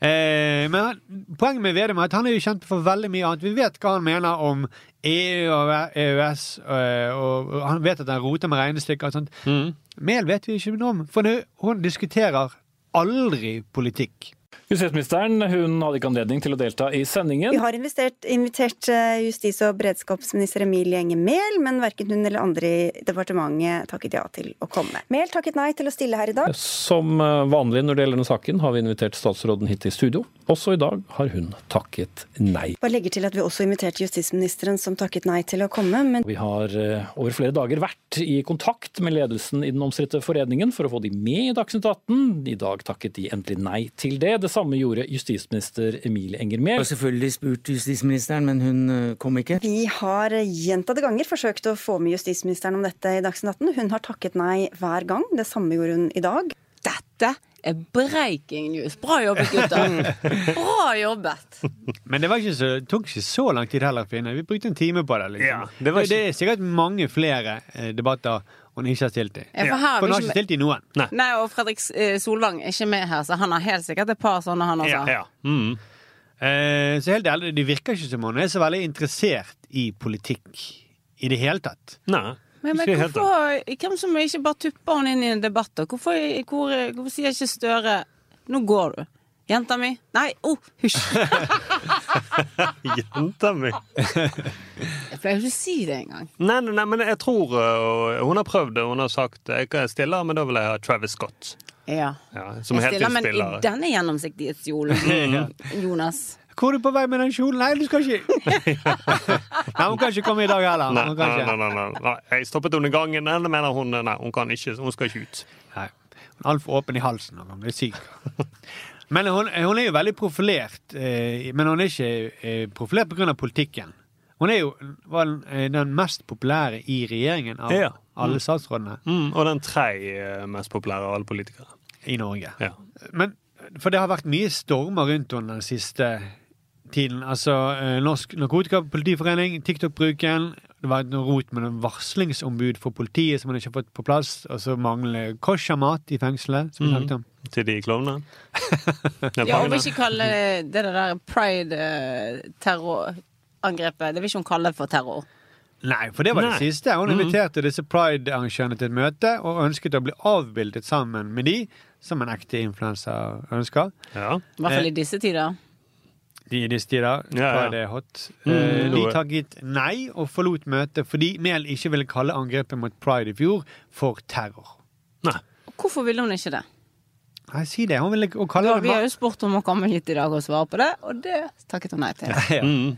A: Eh, men han- poenget med Vedum er at han er jo kjent for veldig mye annet. Vi vet hva han mener om EU og EØS, eh, og og han vet at han roter med regnestykker og
C: Mm.
A: sånt. Mehl vet vi ikke noe om, for nå- hun diskuterer aldri politikk.
G: Justisministeren hun hadde ikke anledning til å delta i sendingen.
H: Vi har investert, invitert eh, justis- og beredskapsminister Emilie Enger Mehl, men verken hun eller andre i departementet takket ja til å komme. Mehl takket nei til å stille her i dag.
G: Som eh, vanlig når det gjelder denne saken, har vi invitert statsråden hit til studio. Også i dag har hun takket nei.
H: Bare legger til at vi også inviterte justisministeren, som takket nei til å komme. Men
G: Vi har eh, over flere dager vært i kontakt med ledelsen i den omstridte foreningen for å få de med i Dagsnytt 18. I dag takket de endelig nei til det. Det samme gjorde justisminister Emilie Enger Mehl.
I: Jeg har selvfølgelig spurt justisministeren, men hun eh, kom ikke.
H: vi har gjentatte ganger forsøkt å få med justisministeren om dette i Dagsnytt 18. Hun har takket nei hver gang. Det samme gjorde hun i dag.
B: Dette er breaking news. Bra jobbet, gutter. Bra jobbet.
A: Men det var ikke så, tok ikke så lang tid heller, Finne. Vi brukte en time på det. liksom.
C: Ja,
A: det, er sikkert mange flere eh, debatter hun ikke har stilt i.
B: Ja, for her har vi
A: hun har
B: ikke-
A: ikke stilt i noen.
B: Nei, og Fredrik eh, Solvang er ikke med her, så han har helt sikkert et par sånne, han også.
C: Ja. Mm.
A: Eh, så helt ærlig, det virker ikke som hun er så veldig interessert i politikk i det hele tatt.
C: Nei.
B: Men, men
C: ikke helt da.
B: hvorfor, hvem som ikke bare tupper henne inn i en debatt? da? Hvorfor, hvor, hvorfor sier ikke Støre 'nå går du'? Jenta mi? Nei, oh, hysj!
C: Jenta mi.
B: Jeg pleier ikke å si det engang.
C: Nei, nei, nei, men jeg tror uh, Hun har prøvd det. Hun har sagt jeg kan stille, men da vil jeg ha Travis Scott.
B: Ja.
C: Ja, som
B: jeg stiller, men i
C: heltidsspiller.
B: denne gjennomsiktighetskjolen, Jonas
A: Hvor er du på vei med den kjolen? Nei, du skal ikke Nei, hun kan ikke komme i dag heller.
C: Nei,
A: Hun
C: nei,
A: kan
C: nei,
A: ikke.
C: nei, nei, nei. Jeg stoppet henne i gangen. Eller mener hun Nei, hun kan ikke. Hun skal ikke ut.
A: Nei. Hun er altfor åpen i halsen. Hun blir syk. Men hun, hun er jo veldig profilert. Eh, men hun er ikke eh, profilert pga. politikken. Hun er jo var den, eh, den mest populære i regjeringen av
C: Ja.
A: alle statsrådene
C: Mm, og den tredje eh, mest populære av alle politikere.
A: i Norge.
C: Ja.
A: Men, for det har vært mye stormer rundt henne den siste tiden. Altså eh, Norsk Narkotikapolitiforening, TikTok-bruken. Det var noe rot med noen varslingsombud for politiet som man ikke har fått på plass. Og så mangler kosher-mat i fengselet, som vi
C: Mhm.
A: snakket om.
C: Til de klovnene. Ja,
B: Ja, hun
C: pangene.
B: vil ikke kalle det det der pride-terrorangrepet Det vil ikke hun kalle det for terror.
A: Nei, for det var
C: Nei.
A: det siste. Hun
C: Mhm.
A: inviterte disse pride-arrangørene til et møte og ønsket å bli avbildet sammen med de, som en ekte influenser ønsker.
C: Ja.
B: I hvert fall i disse tider.
A: De i disse tider,
C: Ja, ja.
A: pride er hot. Eh,
C: Mhm.
A: De takket nei og forlot møtet fordi Mehl ikke ville kalle angrepet mot pride i fjor for terror.
C: Nei.
B: Og Hvorfor ville hun ikke det?
A: Nei, si det. Hun ville ikke hun kaller
B: Ja,
A: det
B: vi har jo spurt om å komme hit i dag og svare på det, og det takket hun nei til.
A: ma- Ja.
C: Mm.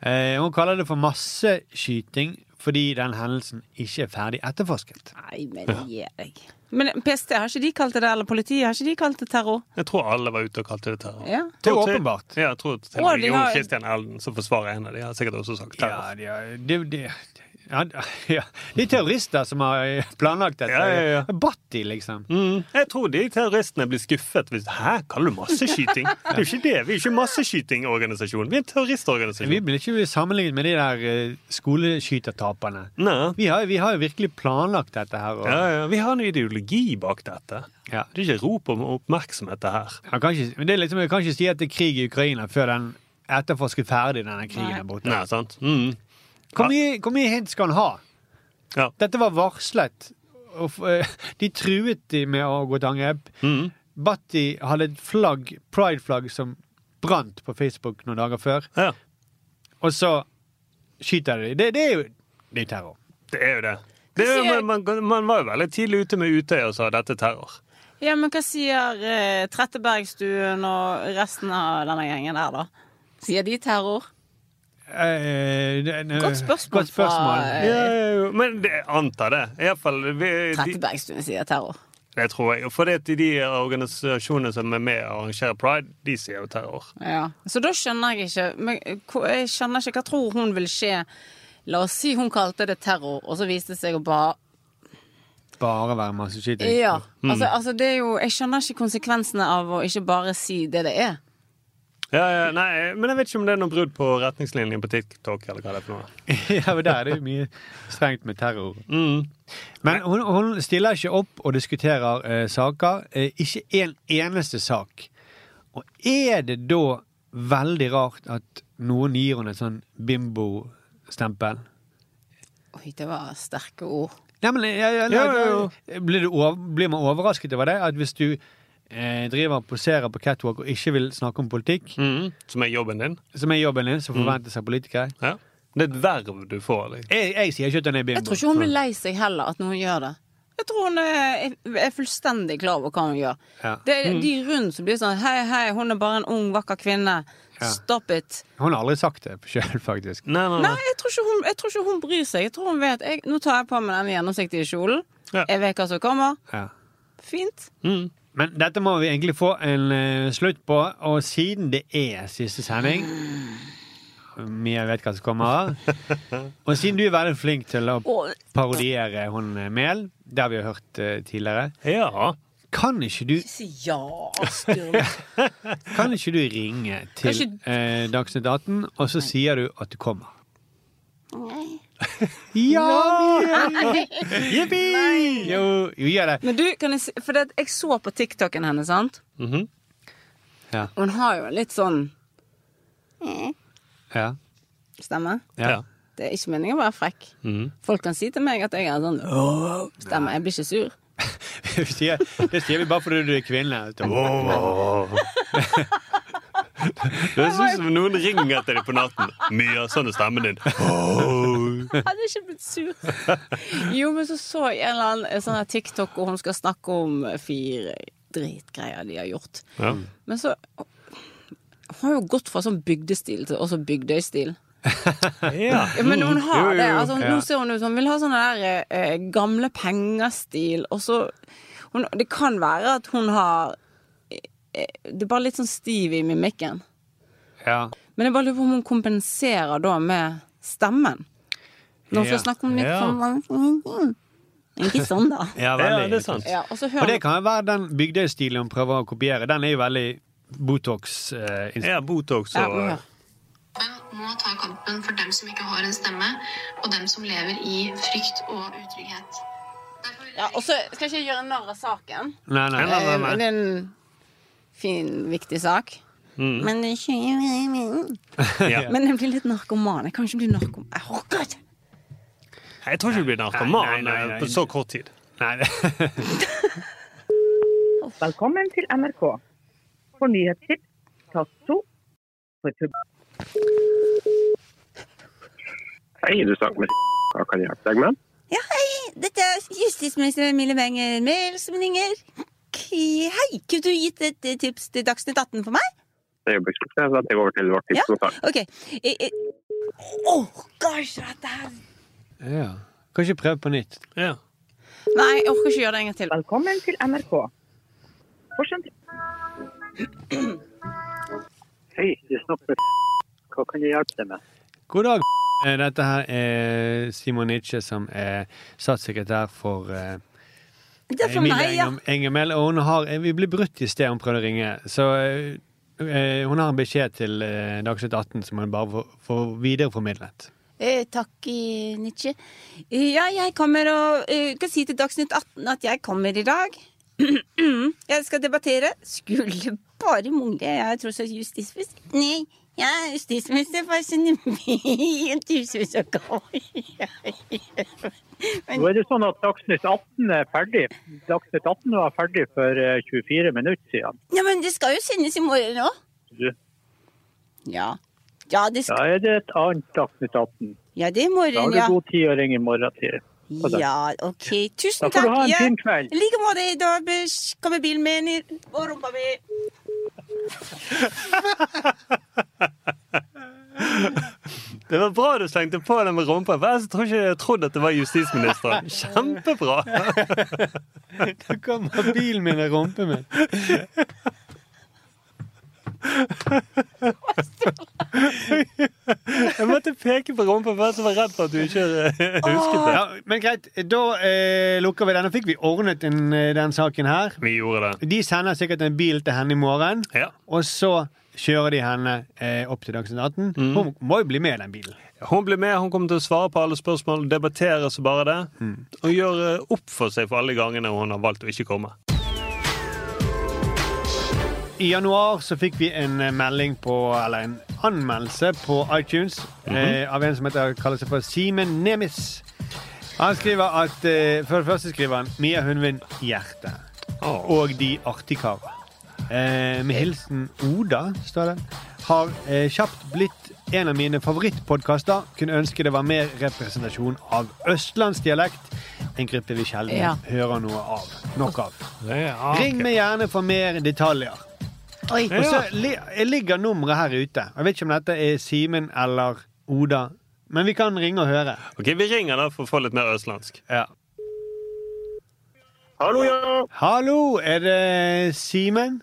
A: Eh, Hun kaller det for masseskyting fordi den hendelsen ikke er ferdig etterforsket.
B: Nei, men gi deg. Men PST, har ikke de kalt det det? Eller politiet, har ikke de kalt det terror?
C: Jeg tror alle var ute og kalte det terror.
B: Ja.
A: Det er
C: Tror til-
A: åpenbart.
C: Ja, jeg tror til
B: Å, de
C: Jon
B: har-
C: Christian Elden, som forsvarer henne. De har sikkert også sagt
A: Ja,
C: terror.
A: de er, de, de, ja, ja. de er terrorister som har eh, planlagt dette.
C: Ja, ja, ja.
A: Batti, liksom.
C: Mm. Jeg tror de terroristene blir skuffet hvis Hæ, kaller du masseskyting? Det er jo ikke det. Vi er ikke en masseskytingorganisasjon. Vi er en terroristorganisasjon.
A: Vi blir ikke sammenlignet med de der eh, skoleskytertaperne.
C: Nei.
A: Vi har, vi har jo virkelig planlagt dette her. Og,
C: Ja, ja. Vi har en ideologi bak dette.
A: Ja.
C: Det er ikke rop om oppmerksomhet, det her.
A: Jeg kan ikke, men det er liksom, jeg kan ikke si at det er krig i Ukraina før den etterforsket ferdig denne krigen er borte.
C: Nei, sant? Mm.
A: Hvor mye, hvor mye hint skal han ha?
C: Ja.
A: Dette var varslet. Og, f- eh, de truet de med å gå til angrep.
C: Mm.
A: Batti hadde et flagg, pride-flagg som brant på Facebook noen dager før.
C: ja.
A: Og så skyter de. Det, det er jo det er terror.
C: Det er jo det. det er, jo- man, man, man var jo veldig tidlig ute med Utøya og sa dette er terror.
B: Ja, men hva sier eh, Trettebergstuen og resten av denne gjengen der, da? Sier de terror?
A: Eh, det- ne-
B: Godt spørsmål
A: Godt spørsmål.
B: fra, eh,
C: Ja, ja, ja. Men det, jeg antar det. I hvert fall, vi, de,
B: Trettebergstuen sier terror.
C: det tror jeg. For det, de organisasjonene som er med og arrangerer pride, de sier jo terror.
B: Ja. Så da skjønner jeg ikke men, hva- Jeg skjønner ikke hva tror hun vil skje. La oss si hun kalte det terror, og så viste det seg å bare
A: Bare være masseskyting.
B: Ja.
A: Mm.
B: Altså, altså, det er jo Jeg skjønner ikke konsekvensene av å ikke bare si det det er.
C: Ja, ja, nei, men jeg vet ikke om det er noe brudd på retningslinjene på TikTok. eller hva det er for noe.
A: ja, men der er det jo mye strengt med terror.
C: Mm.
A: Men hun, hun stiller ikke opp og diskuterer eh, saker. Eh, ikke en eneste sak. Og er det da veldig rart at noen gir henne et sånn bimbo-stempel?
B: Oi, det var sterke ord.
A: Nei, men jeg, jeg,
C: Jo, jo,
A: Blir, du over, blir man overrasket over det? At hvis du eh, driver og poserer på catwalk og ikke vil snakke om politikk,
C: Mm, Som er jobben din.
A: som er jobben din, som
C: Mm.
A: forventes av politikere
C: Ja. Det er et verv du får. Liksom.
A: Jeg, jeg sier ikke at han er bimbo.
B: Jeg tror ikke hun blir lei seg heller at noen gjør det. Jeg tror hun er, er fullstendig klar over hva hun gjør.
A: Ja. Mm.
B: Det er de rundt som blir sånn Hei, hei, hun er bare en ung, vakker kvinne.
A: Ja.
B: Stop it.
A: Hun har aldri sagt det sjøl, faktisk.
B: Nei, jeg tror, ikke hun, jeg tror ikke hun bryr seg. Jeg tror hun vet jeg, Nå tar jeg på meg denne gjennomsiktige kjolen. Jeg vet hva som kommer.
A: Ja.
B: Fint.
A: Men dette må vi egentlig få en eh, slutt på, og siden det er siste sending Mia vet hva som kommer. Og siden du er veldig flink til å
B: Åh.
A: parodiere hun eh, Mehl, det har vi jo hørt eh, tidligere, kan ikke du
B: Si ja, Sturle.
A: Kan ikke du ringe til
B: Kanskje-
A: eh, Dagsnytt 18, og så sier du at du kommer?
B: Nei.
A: Jippi! Jo, jo, gjør det.
B: Men du, kan jeg si For det, jeg så på TikToken hennes, sant?
A: Ja.
B: Og hun har jo en litt sånn
A: Ja.
B: stemme.
A: ja.
B: Det er ikke meningen å være frekk. Folk kan si til meg at jeg er sånn «Åh», Stemme, jeg blir ikke sur.
A: Vi sier, det sier vi bare fordi du er kvinne.
C: Åh. Det synes som noen ringer til deg på natten. Mye av sånn er stemmen din. Åh.
B: Jeg hadde ikke blitt sur. Jo, men så så jeg en eller annen sånn her TikTok hvor hun skal snakke om fire dritgreier de har gjort.
C: Ja.
B: Men så Hun har jo gått fra sånn bygdestil til også Bygdøy-stil.
C: Ja.
B: Ja, men hun har
A: Jo, jo, jo.
B: det. Altså,
A: Ja.
B: Nå ser hun ut som hun vil ha sånn der eh, gamle penger-stil, og så hun, Det kan være at hun har eh, eh, Det er bare litt sånn stiv i mimikken.
A: Ja.
B: Men jeg bare lurer på om hun kompenserer da med stemmen. Når hun
A: Ja.
B: skal snakke om litt
C: Ja.
B: sånn Ikke sånn, da.
A: Ja, veldig.
C: ja, det er sant.
B: Ja, og så
A: Og
B: hører
A: det kan jo være den bygdøystilen hun prøver å kopiere. Den er jo veldig Botox. eh, inst-
C: Ja, Botox
B: ja,
C: og
B: hør.
J: må ta kampen for dem som ikke har en stemme, og dem som lever i frykt og utrygghet.
B: ja, Og så skal ikke jeg gjøre narr av saken.
A: Nei, nei.
C: Nei, nei,
B: Eh,
C: nei.
B: Det er en fin, viktig sak.
A: Mm.
B: Men det er ikke
C: Ja.
B: Men jeg blir litt narkoman. Jeg kan ikke bli narkoman. Jeg orker ikke!
C: Jeg tror ikke du blir
A: Nei,
C: narkoman
A: nei, nei, nei.
C: eh, på så kort tid.
A: nei. det-
J: Velkommen til NRK. For nyhetstips, tast to. For pub...
E: Hei, du snakker med Hva kan jeg hjelpe deg med?
J: Ja, hei! Dette er justisminister Emilie Wenger Mehl som ringer. K- Hei! Kunne du gitt et eh, tips til Dagsnytt 18 for meg?
E: Det er øyeblikkslipp, så jeg setter jeg over til vårt tidsmottak.
J: OK. Eh, eh, Orker ikke dette her.
A: Ja. Kan ikke prøve på nytt.
C: Ja.
B: Nei, jeg orker ikke gjøre det en gang til.
J: Velkommen til NRK. For sentral...
E: Hei, du snakker med Hva kan jeg hjelpe deg med?
A: God dag. Eh, Dette her er Simon Nitsche, som er statssekretær for eh,
J: Det er for meg, ja.
A: Engem- Engemel. Og hun har eh, Vi ble brutt i sted, hun prøvde å ringe. Så eh, eh, hun har en beskjed til eh, Dagsnytt 18 som hun bare får- får videreformidlet.
J: Eh, takk, eh, Nietzsche. Eh, ja, jeg kommer og eh, kan si til Dagsnytt 18 at jeg kommer i dag. jeg skal debattere. Skulle bare mangle. Jeg er tross alt justisminister. Nei, jeg er justisminister for Sunnmøre tusenvis av
E: Nå er det sånn at Dagsnytt 18 er ferdig. Dagsnytt 18 var ferdig for eh, 24 minutter siden.
J: Ja, men det skal jo sendes i morgen òg.
E: Du-
J: Ja. Ja, det
E: Da
J: skal
E: er det et annet Dagsnytt 18.
J: Ja, det er i
E: Da
J: morgen,
E: har du
J: ja.
E: god tid å ringe i morgen til. på deg.
J: Ja, OK.
E: Da
J: Tusen
E: får
J: takk.
E: du ha en
J: ja.
E: fin kveld.
J: I like måte. Da bes- kommer bilen min i- og rumpa mi.
C: Det var bra du slengte på den med rumpa. for Jeg tror ikke jeg trodde at det var justisministeren. Kjempebra!
A: Da kommer bilen min og rumpen min.
C: Jeg måtte peke på rumpa, for jeg var redd for at du ikke eh, husket det.
A: Ja, men greit, da eh, lukker vi den. Nå fikk vi ordnet den, eh, den saken her.
C: Vi gjorde det.
A: De sender sikkert en bil til henne i morgen,
C: Ja.
A: og så kjører de henne eh, opp til Dagsnytt 18. Hun må jo bli med i den bilen.
C: Hun blir med, hun kommer til å svare på alle spørsmål, debattere så bare det. Og gjøre opp for seg for alle gangene hun har valgt å ikke komme.
A: I januar så fikk vi en eh, melding på, eller en anmeldelse på iTunes eh, av en som heter, kaller seg for Simen Nemis. Han skriver at, eh, for det første skriver han Mia Hundvin Hjerte og De Artige Karer. eh, med hilsen Oda, står det, har eh, kjapt blitt en av mine favorittpodkaster. Kunne ønske det var mer representasjon av østlandsdialekt. En gruppe vi sjelden
B: Ja.
A: hører noe av. Nok av.
C: Ja, Ah, ok.
A: Ring meg gjerne for mer detaljer.
B: Oi.
A: Og så li ligger nummeret her ute. Jeg vet ikke om dette er Simen eller Oda, men vi kan ringe og høre.
C: Ok, Vi ringer da for å få litt mer østlandsk.
A: Ja.
K: Hallo, ja.
A: Hallo, er det Simen?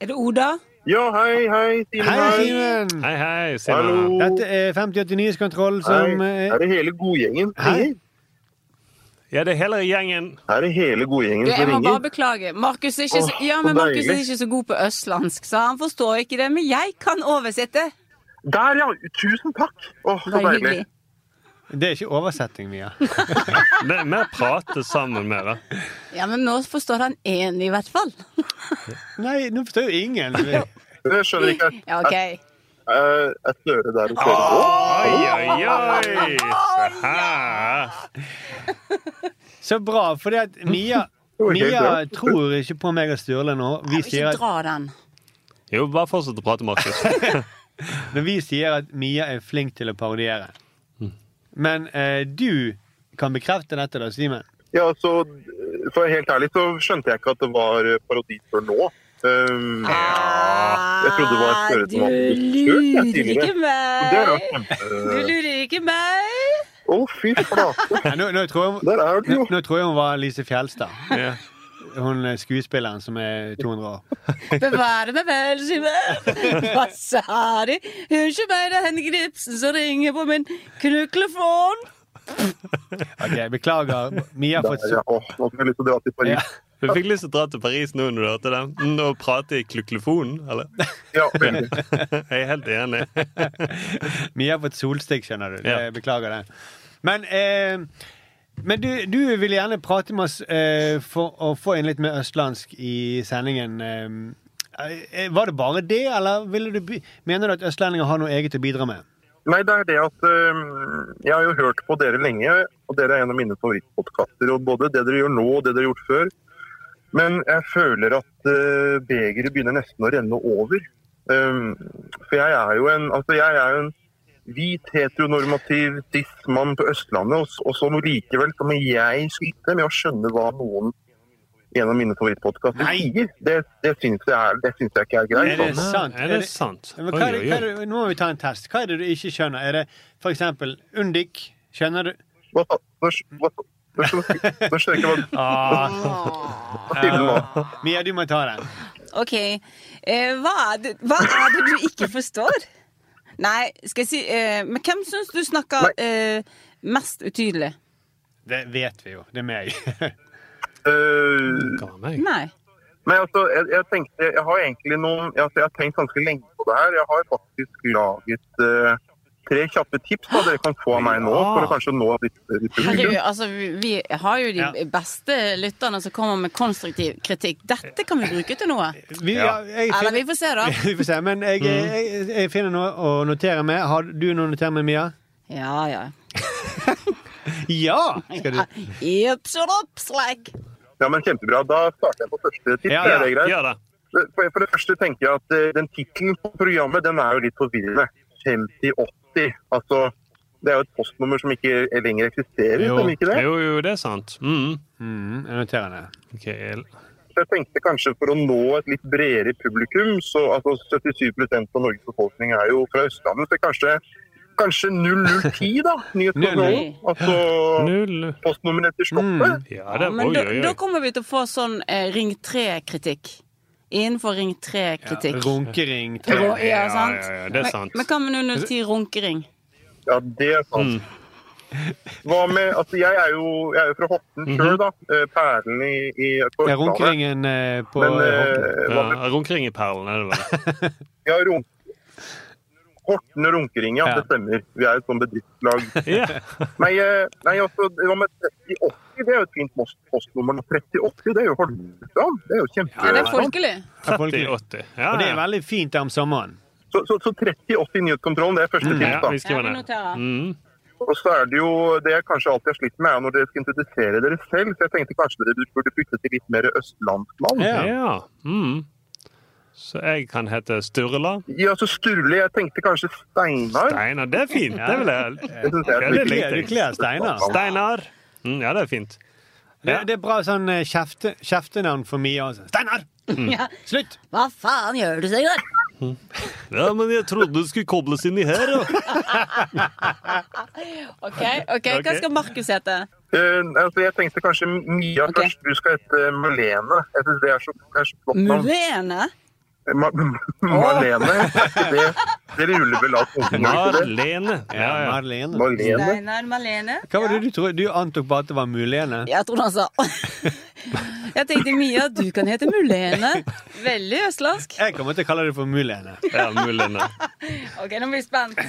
B: Er det Oda?
K: Ja, hei, hei. Simen
A: Hei,
K: her.
A: Simen.
C: Hei, hei,
K: Hallo.
A: Dette er 5089s kontroll som
K: Hei.
A: eh,
K: Er det hele godgjengen? som ringer?
C: Ja, det er hele gjengen.
K: Er det hele godgjengen
B: Du, jeg
K: som
B: må bare
K: ringer?
B: beklage. Markus er, ikke så,
K: Åh,
B: ja,
K: så
B: men Markus er
K: deilig.
B: ikke så god på østlandsk, så han forstår ikke det. Men jeg kan oversette.
K: Der, ja. Tusen takk. Åh, så
B: Bare
K: deilig.
B: hyggelig.
A: Det er ikke oversetting, Mia.
C: Det er mer prate sammen med dere.
B: Ja, men nå forstår han én, i hvert fall.
A: Nei, nå forstår jo ingen.
K: Jeg skjønner ikke.
B: Ja, OK.
K: Jeg, jeg snører der og snører på.
C: Oi, oi, oi! Se her.
A: Så bra, fordi at Mia,
C: var helt
A: Mia
C: bra.
A: tror ikke på meg og Sturle nå. Vi
B: Ikke
A: sier at,
B: dra den.
C: Jo, bare fortsett å prate, Markus.
A: men vi sier at Mia er flink til å parodiere. Men eh, du kan bekrefte dette, da, Simen.
K: Ja, så eh, for helt ærlig så skjønte jeg ikke at det var eh, parodi før nå. Um, Ah, jeg trodde det var
J: Ah,
K: en større som hadde blitt søkt, jeg, tidligere.
B: ikke meg.
K: Så Det er jo kjempe...
B: Du lurer ikke meg.
K: Å, fy flate.
A: Nei, nå, nå, tror jeg, nå, nå tror jeg hun var Lise Fjelstad. Hun eh, skuespilleren som er 200 år.
B: Bevare meg vel, Simen. Hva sa de? Unnskyld meg, det er Henning Gripsen som ringer på min knuklefon.
A: Ok, Beklager. Mia har fått
K: Ja, åh, nå fikk jeg lyst til å dra til Paris.
C: Du fikk lyst til å dra til Paris nå når du hørte det. Mm, Og prate i kluklefonen, eller?
K: Ja,
C: veldig. Jeg er helt enig.
A: Mia har fått solstikk, skjønner du. Det, Beklager det. Men, eh, men du, du vil gjerne prate med oss eh, for å få inn litt mer østlandsk i sendingen. Eh, eh, var det bare det, eller ville du, by- mener du at østlendinger har noe eget å bidra med?
K: Nei, det er det at øhm, jeg har jo hørt på dere lenge, og dere er en av mine favorittpodkaster. Og både det dere gjør nå og det dere har gjort før. Men jeg føler at øh, begeret begynner nesten å renne over. Øhm, for jeg er jo en, altså jeg er jo en hvit, heteronormativ cis-mann på Østlandet, og, s- og som likevel som jeg sliter med å skjønne hva noen i en av mine favorittpodkaster sier. Det, det syns jeg, er- det syns jeg ikke er greit.
A: Er det
K: altså.
A: sant?
C: Er det sant?
A: Men hva er det,
C: Oi, oi,
A: hva
C: oi.
A: er det, nå må vi ta en test. Hva er det du ikke skjønner? Er det for eksempel undik? Skjønner du?
K: Hva sa Nå skjønner jeg ikke- nå skjønner jeg ikke hva
C: Ah.
K: hva sier du nå?
A: Ah. Mia, du må ta den.
B: OK. Eh, hva, er det, hva er det du ikke forstår? Nei, skal jeg si eh, Men hvem syns du snakker eh, mest utydelig?
A: Det vet vi jo. Det er meg.
K: Eh,
B: Nei.
K: men altså, jeg, jeg tenkte Jeg har egentlig noen altså, Jeg har tenkt ganske lenge på det her. Jeg har faktisk laget eh, tre kjappe tips da dere kan få av meg nå,
A: Ah.
K: for å kanskje nå litt, litt
B: Herregud,
K: publikum.
B: altså, vi, vi har jo de beste lytterne som kommer med konstruktiv kritikk. Dette kan vi bruke til noe.
A: Vi, ja. jeg
B: Eller
A: finner,
B: vi får se, da.
A: vi får se. Men
C: Mm.
A: jeg, eh, jeg, jeg finner noe å notere med. Har du noe å notere med, Mia?
B: Ja, ja.
A: Ja! Skal du
B: Jips og rops, like.
K: Ja, men Kjempebra. Da starter jeg på første tips.
A: Ja, ja.
K: Er det
C: Gjør
K: greit?
C: det.
K: For, for det første tenker jeg at eh, den tittelen på programmet den er jo litt forvirrende. 5080. Altså, det er jo et postnummer som ikke lenger eksisterer, stemmer ikke det?
C: jo, jo, det er sant. Mm.
A: Jeg noterer det.
C: Ok, el-
K: Så jeg tenkte kanskje for å nå et litt bredere publikum, så altså 77 av Norges befolkning er jo fra Østlandet, så kanskje, kanskje 0010 da, nyhetskanalen. Altså postnummeret til Sloppe.
C: Hmm. Ja,
B: Ja, men da, da kommer vi til å få sånn eh, Ring 3-kritikk. Innenfor Ring 3-kritikk.
A: Runkering.
B: Ja, ja, sant?
C: Ja, ja, ja, det er sant.
B: Men, men hva med 010 runkering?
K: Ja, det er sant. Hva med, altså jeg er jo, jeg er jo fra Horten selv da, eh, perlen i, i på
A: Er
K: Østlandet.
A: runkeringen eh, på
K: Men
A: Horten?
K: eh, hva med
C: ja, Runkering i perlen, er det vel?
K: Ja, runk... Horten og Runkering, ja, Det stemmer. Vi er et sånt bedriftslag. nei, eh, nei, altså, det var med 3080, det er jo et fint post- postnummer. nå. 3080, det er jo Holmestrand. Det er jo kjempe...
B: Ja, det er folkelig.
C: 3080. Ja,
A: Og det er
C: ja.
A: veldig fint der om sommeren.
K: Så, så, så 3080 nyhetskontrollen, det er første tips,
C: Mm, ja,
K: da.
C: vi skriver
B: vi
C: ned.
B: noterer.
C: Mm.
K: Og så er det jo det jeg kanskje alltid har slitt med, er når dere skal introdusere dere selv. Så jeg tenkte kanskje dere burde bytte til litt mer østlandsmann.
A: Ja.
C: Ja. Mm. Så jeg kan hete Sturla.
K: Ja, så Sturle. Jeg tenkte kanskje Steinar.
C: Steinar, det er fint. Det vil jeg.
K: Det synes jeg er
C: Ja, det
K: fint.
C: likte jeg.
A: Du kler Steinar.
C: Steinar. Mm, ja, det er fint.
A: Det, det er bra sånn eh, kjefte, kjeftenavn for Mia. Altså. Steinar!
C: Mm.
B: Ja.
A: Slutt!
B: Hva faen gjør du, Sigurd?
C: Ja, men jeg trodde du skulle kobles inn i her, ja.
B: OK, ok, hva
K: Ok.
B: skal Markus hete?
K: Eh, altså, jeg tenkte kanskje Mia først. Du skal hete Malene. Jeg synes det er så, det er så flott navn.
B: Mulene?
K: Ma Marlene. Er ikke det dere ruller vel av tungen? er det ikke det?
C: Marlene.
A: Ja, Marlene.
B: Steinar Malene?
A: Hva var det du trodde? Du antok bare at det var Mulene.
B: Jeg trodde han sa Jeg tenkte Mia, du kan hete Mulene. Veldig østlandsk.
A: Jeg kommer til å kalle det for Mulene.
C: Ja, Mulene.
B: OK, nå blir jeg spent.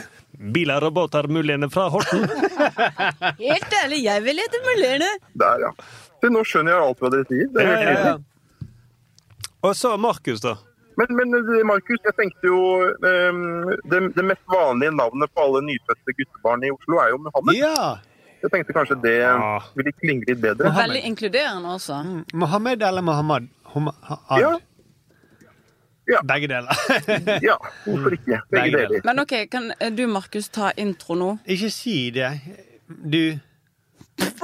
C: Biler og båter, Mulene fra Horten.
B: Helt ærlig, jeg vil hete Mulene.
K: Der, ja. Se, nå skjønner jeg alt hva dere sier. Det er helt nydelig.
C: Og så Markus, da.
K: Men, men eh, Markus, jeg tenkte jo eh, det, det mest vanlige navnet på alle nyfødte guttebarn i Oslo er jo Mohammed. Jeg tenkte kanskje det ville klinge litt bedre.
B: Veldig inkluderende også.
K: Mm.
A: Mohammed eller Mohammed? Hom- ha- Ad?
K: Ja.
A: Begge deler.
K: ja, hvorfor ikke? Begge deler.
B: Men OK, kan du, Markus, ta intro nå?
A: Ikke si det. Du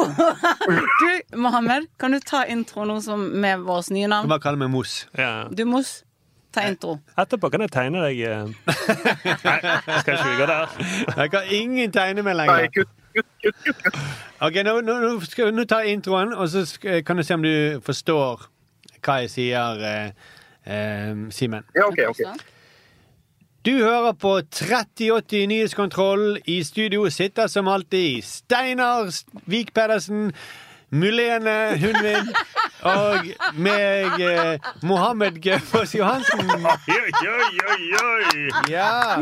B: Du, Mohammed, kan du ta intro nå som med vårt nye
A: kan
B: navn?
A: bare kalle meg Mos.
B: Du, Mos, ta intro.
C: Etterpå kan jeg tegne deg eh. Nei, skal ikke vi gå der?
A: Jeg kan ingen tegne meg lenger.
C: Nei,
A: Ok, nå, nå, nå skal nå tar jeg introen, og så sk- eh, kan du se om du forstår hva jeg sier, eh, eh, Simen.
K: Ja, ok, ok.
A: Du hører på 3080 Nyhetskontroll. I studio sitter som alltid Steinar Vik Pedersen, Mulene Hundvin og meg, eh, Mohammed Gaufoss Johansen.
C: Oi, oi, oi, oi!
A: Ja!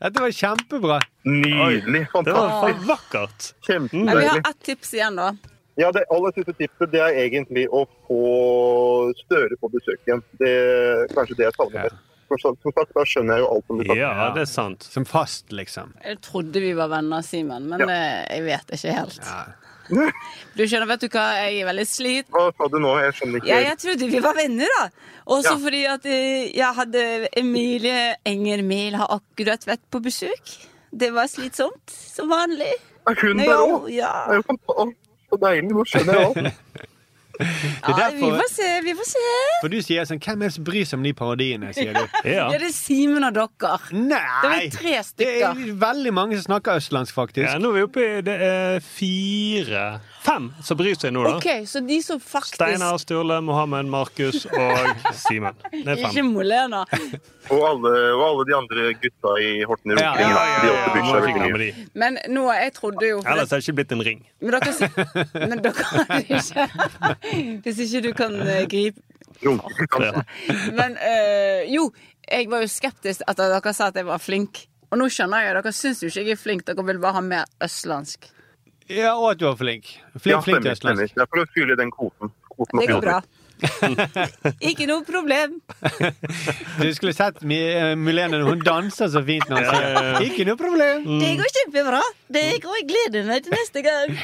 A: Dette var kjempebra.
K: Nydelig. Fantastisk.
C: vakkert.
B: Nei, vi har
K: Kjempedeilig.
B: ett tips igjen, da.
K: Ja, det aller siste tipset det er egentlig å få Støre på besøk igjen. Det er kanskje det jeg savner mest. For så- Som sagt, da skjønner jeg jo alt om det.
C: Ja, det er sant.
A: Som fast, liksom.
B: Jeg trodde vi var venner, Simen, men eh, jeg vet ikke helt. Du skjønner, vet du hva, jeg er veldig sliten.
K: Hva sa du nå? Jeg skjønner ikke.
B: Ja, jeg trodde vi var venner, da. Også
K: Ja.
B: fordi at eh, jeg hadde Emilie Enger Mehl har akkurat vært på besøk. Det var slitsomt, som vanlig.
K: Hun
B: Nei,
K: der
B: jo,
K: òg!
B: ja.
K: Det er jo fantastisk. Så deilig. Nå skjønner jeg alt.
A: Det er
B: Ja, vi
A: derfor,
B: får se, vi får se.
A: for du sier sånn Hvem er det som bryr seg om de parodiene? sier du.
B: Ja, det er Simen og dere. Det var
A: Nei!
B: jo tre
A: Det er
B: stykker.
A: veldig mange som snakker østlandsk, faktisk.
C: Ja, nå er vi oppe i det er fire Fem som bryr seg nå, da.
B: OK, så de som faktisk
C: Steinar, Sturle, Mohammed, Markus og Simen. Det er
B: Ikke
C: fem.
B: Molena.
K: Og alle, og alle de andre gutta i Horten i
C: Ja,
K: Rotringen.
C: ja, ja,
K: De
C: ja,
K: også bryr
C: må
K: seg
C: vi
K: veldig
C: glemme
K: mye.
C: de.
B: Men nå, jeg trodde jo for
C: Ellers er det ikke blitt en ring.
B: Men dere, si- men dere hadde ikke Hvis ikke du kan eh, gripe Men eh, jo, jeg var jo skeptisk etter at dere sa at jeg var flink. Og nå skjønner jeg, dere syns jo ikke jeg er flink, dere vil bare ha mer østlandsk.
A: Ja, og at du var flink. Flink,
K: Ja,
A: flink
K: stemmer.
A: til østlandsk.
K: stemmer. Det er for å fylle den kvoten. kvoten
B: Det
K: må
B: går bra.
K: fylles.
B: Ikke noe problem.
A: Du skulle sett Mi- eh, Milene når hun danser så fint når hun
C: Ja, ja, ja.
A: sier Ikke noe problem.
B: Det går kjempebra. Det går, Jeg gleder meg til neste gang.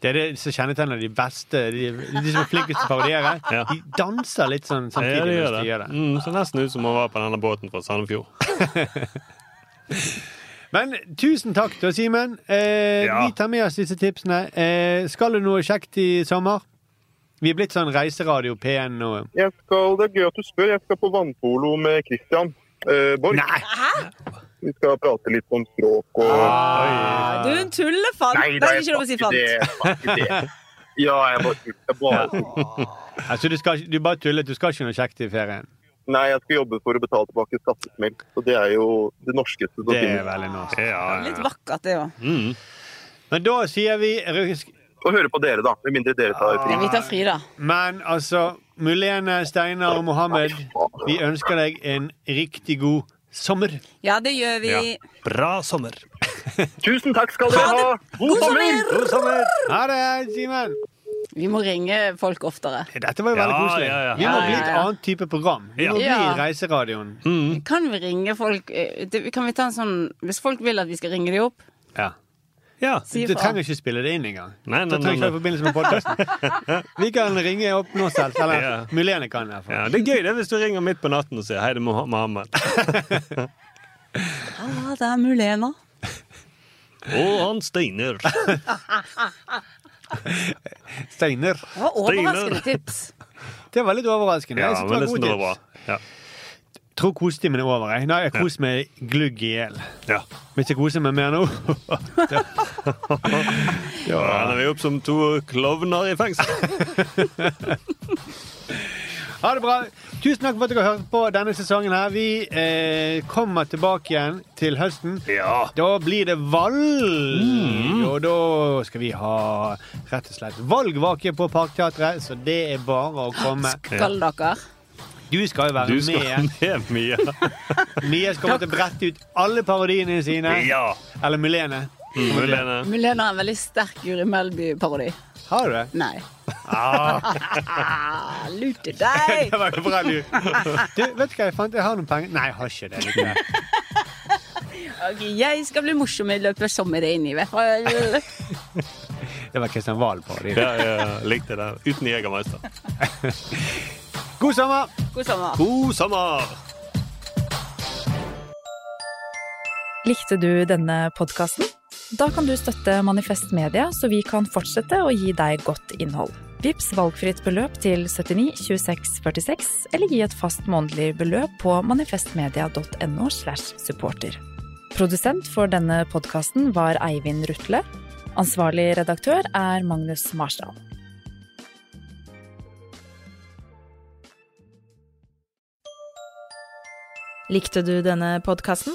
A: Det er det som kjennetegner de beste, de, de som er flinkest til å parodiere. De danser litt sånn
C: Ja, det
A: samtidig
C: gjør
A: mens
C: det.
A: de gjør det.
C: Mm, så nesten ut som å være på denne båten fra Sandefjord.
A: Men tusen takk til Simen. Eh,
C: Ja.
A: Vi tar med oss disse tipsene. Eh, skal du noe kjekt i sommer? Vi er blitt sånn reiseradio P1 nå.
K: Jeg skal, det er gøy at du spør. Jeg skal på vannpolo med Christian eh, Borg. Vi skal prate litt om språk og
A: Ah.
B: Du er en tullefant. Nei, det er ikke lov å si
K: sa
B: fant.
K: ikke det. Jeg sa ikke det. Ja, jeg bare tuller. Jeg bare-
A: Altså, du, skal, du bare tullet. Du skal ikke noe kjekt i ferien.
K: Nei, jeg skal jobbe for å betale tilbake skattesmell. Så det er jo det norskeste som
A: Det
K: finnes.
A: er veldig norsk.
B: Litt vakkert, det òg.
A: Men da sier vi
K: Få høre på dere, da. Med mindre dere tar fri.
B: Vi tar fri, da.
A: Men altså, Mulene, Steinar og Mohammed, vi ønsker deg en riktig god sommer.
B: Ja, det gjør vi.
A: Ja.
C: Bra sommer.
K: Tusen takk skal dere ha! God sommer!
A: God sommer! Ha det, Simen!
B: Vi må ringe folk oftere.
A: Dette var jo veldig
C: Ja,
A: koselig.
C: ja, ja.
A: Vi må
B: Ja,
A: bli
B: ja,
A: et
B: ja.
A: annet type program. Vi må bli
B: Ja.
A: Reiseradioen.
B: Kan vi ringe folk eh, det- Kan vi ta en sånn Hvis folk vil at vi skal ringe dem opp,
A: Ja.
C: Ja.
A: Du du trenger ikke spille det inn engang.
C: Nei,
A: Det
C: nei,
A: trenger
C: nei,
A: ikke være i forbindelse med podkasten. Vi kan ringe opp nå selv. Eller
C: Ja.
A: Mulene kan i hvert fall.
C: Ja, det er gøy det hvis du ringer midt på natten og sier 'Hei, det er Moha- Mohammed'.
B: Ja, det er Mulena.
C: Og han Steiner.
A: Steiner.
B: Det var overraskende tips.
A: Det var litt overraskende.
C: Ja,
A: Jeg synes
C: men
A: det
C: nesten
A: var
C: det var
A: god tips.
C: bra. Ja.
A: Tror kosetimen er over. Jeg. Nå har jeg kost meg glugg i hjel.
C: Ja.
A: Vil ikke kose meg mer nå.
C: Ja. Da er vi opp som to klovner i fengsel.
A: Ha det bra. Tusen takk for at dere hørte på denne sesongen her. Vi eh, kommer tilbake igjen til høsten. Da blir det valg.
C: Mm.
A: Og da skal vi ha rett og slett valgvake på Parkteatret, så det er bare å komme.
B: Skal dere?
A: Du skal jo være
C: Du skal
A: med.
C: med, Mia.
A: Mia skal måtte brette ut alle parodiene sine.
C: Ja.
A: Eller Mulene.
C: Mm, Mulene.
B: Mulena er en veldig sterk Guri Melby-parodi.
A: Har du det?
B: Nei.
A: Ah.
B: Lurt til deg!
A: det var jo bra, du. Du, vet du hva jeg fant? Jeg har noen penger. Nei, jeg har ikke det. Likevel.
B: Ok, jeg skal bli morsom i løpet av sommeren i hvert fall.
A: Det var Kristian Wahl på det.
C: Ja, ja, ja, likte det. Uten Jegermeister.
A: God sommer!
B: God sommer.
C: God sommer!
D: Likte du denne podkasten? Da kan du støtte Manifest Media, så vi kan fortsette å gi deg godt innhold. Vips valgfritt beløp til 79 26 46, eller gi et fast månedlig beløp på manifestmedia.no. slash supporter. Produsent for denne podkasten var Eivind Rutle. Ansvarlig redaktør er Magnus Marsdal.
L: Likte du denne podkasten?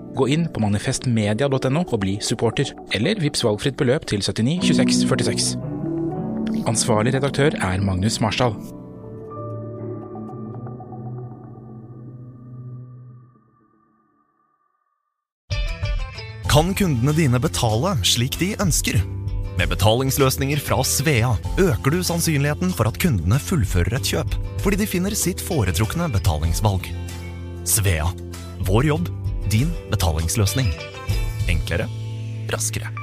M: Gå inn på manifestmedia.no og bli supporter, eller vips valgfritt beløp til 79 26 46. Ansvarlig redaktør er Magnus Marsdal.
N: Kan kundene dine betale slik de ønsker? Med betalingsløsninger fra Svea øker du sannsynligheten for at kundene fullfører et kjøp, fordi de finner sitt foretrukne betalingsvalg. Svea vår jobb, din betalingsløsning. Enklere, raskere.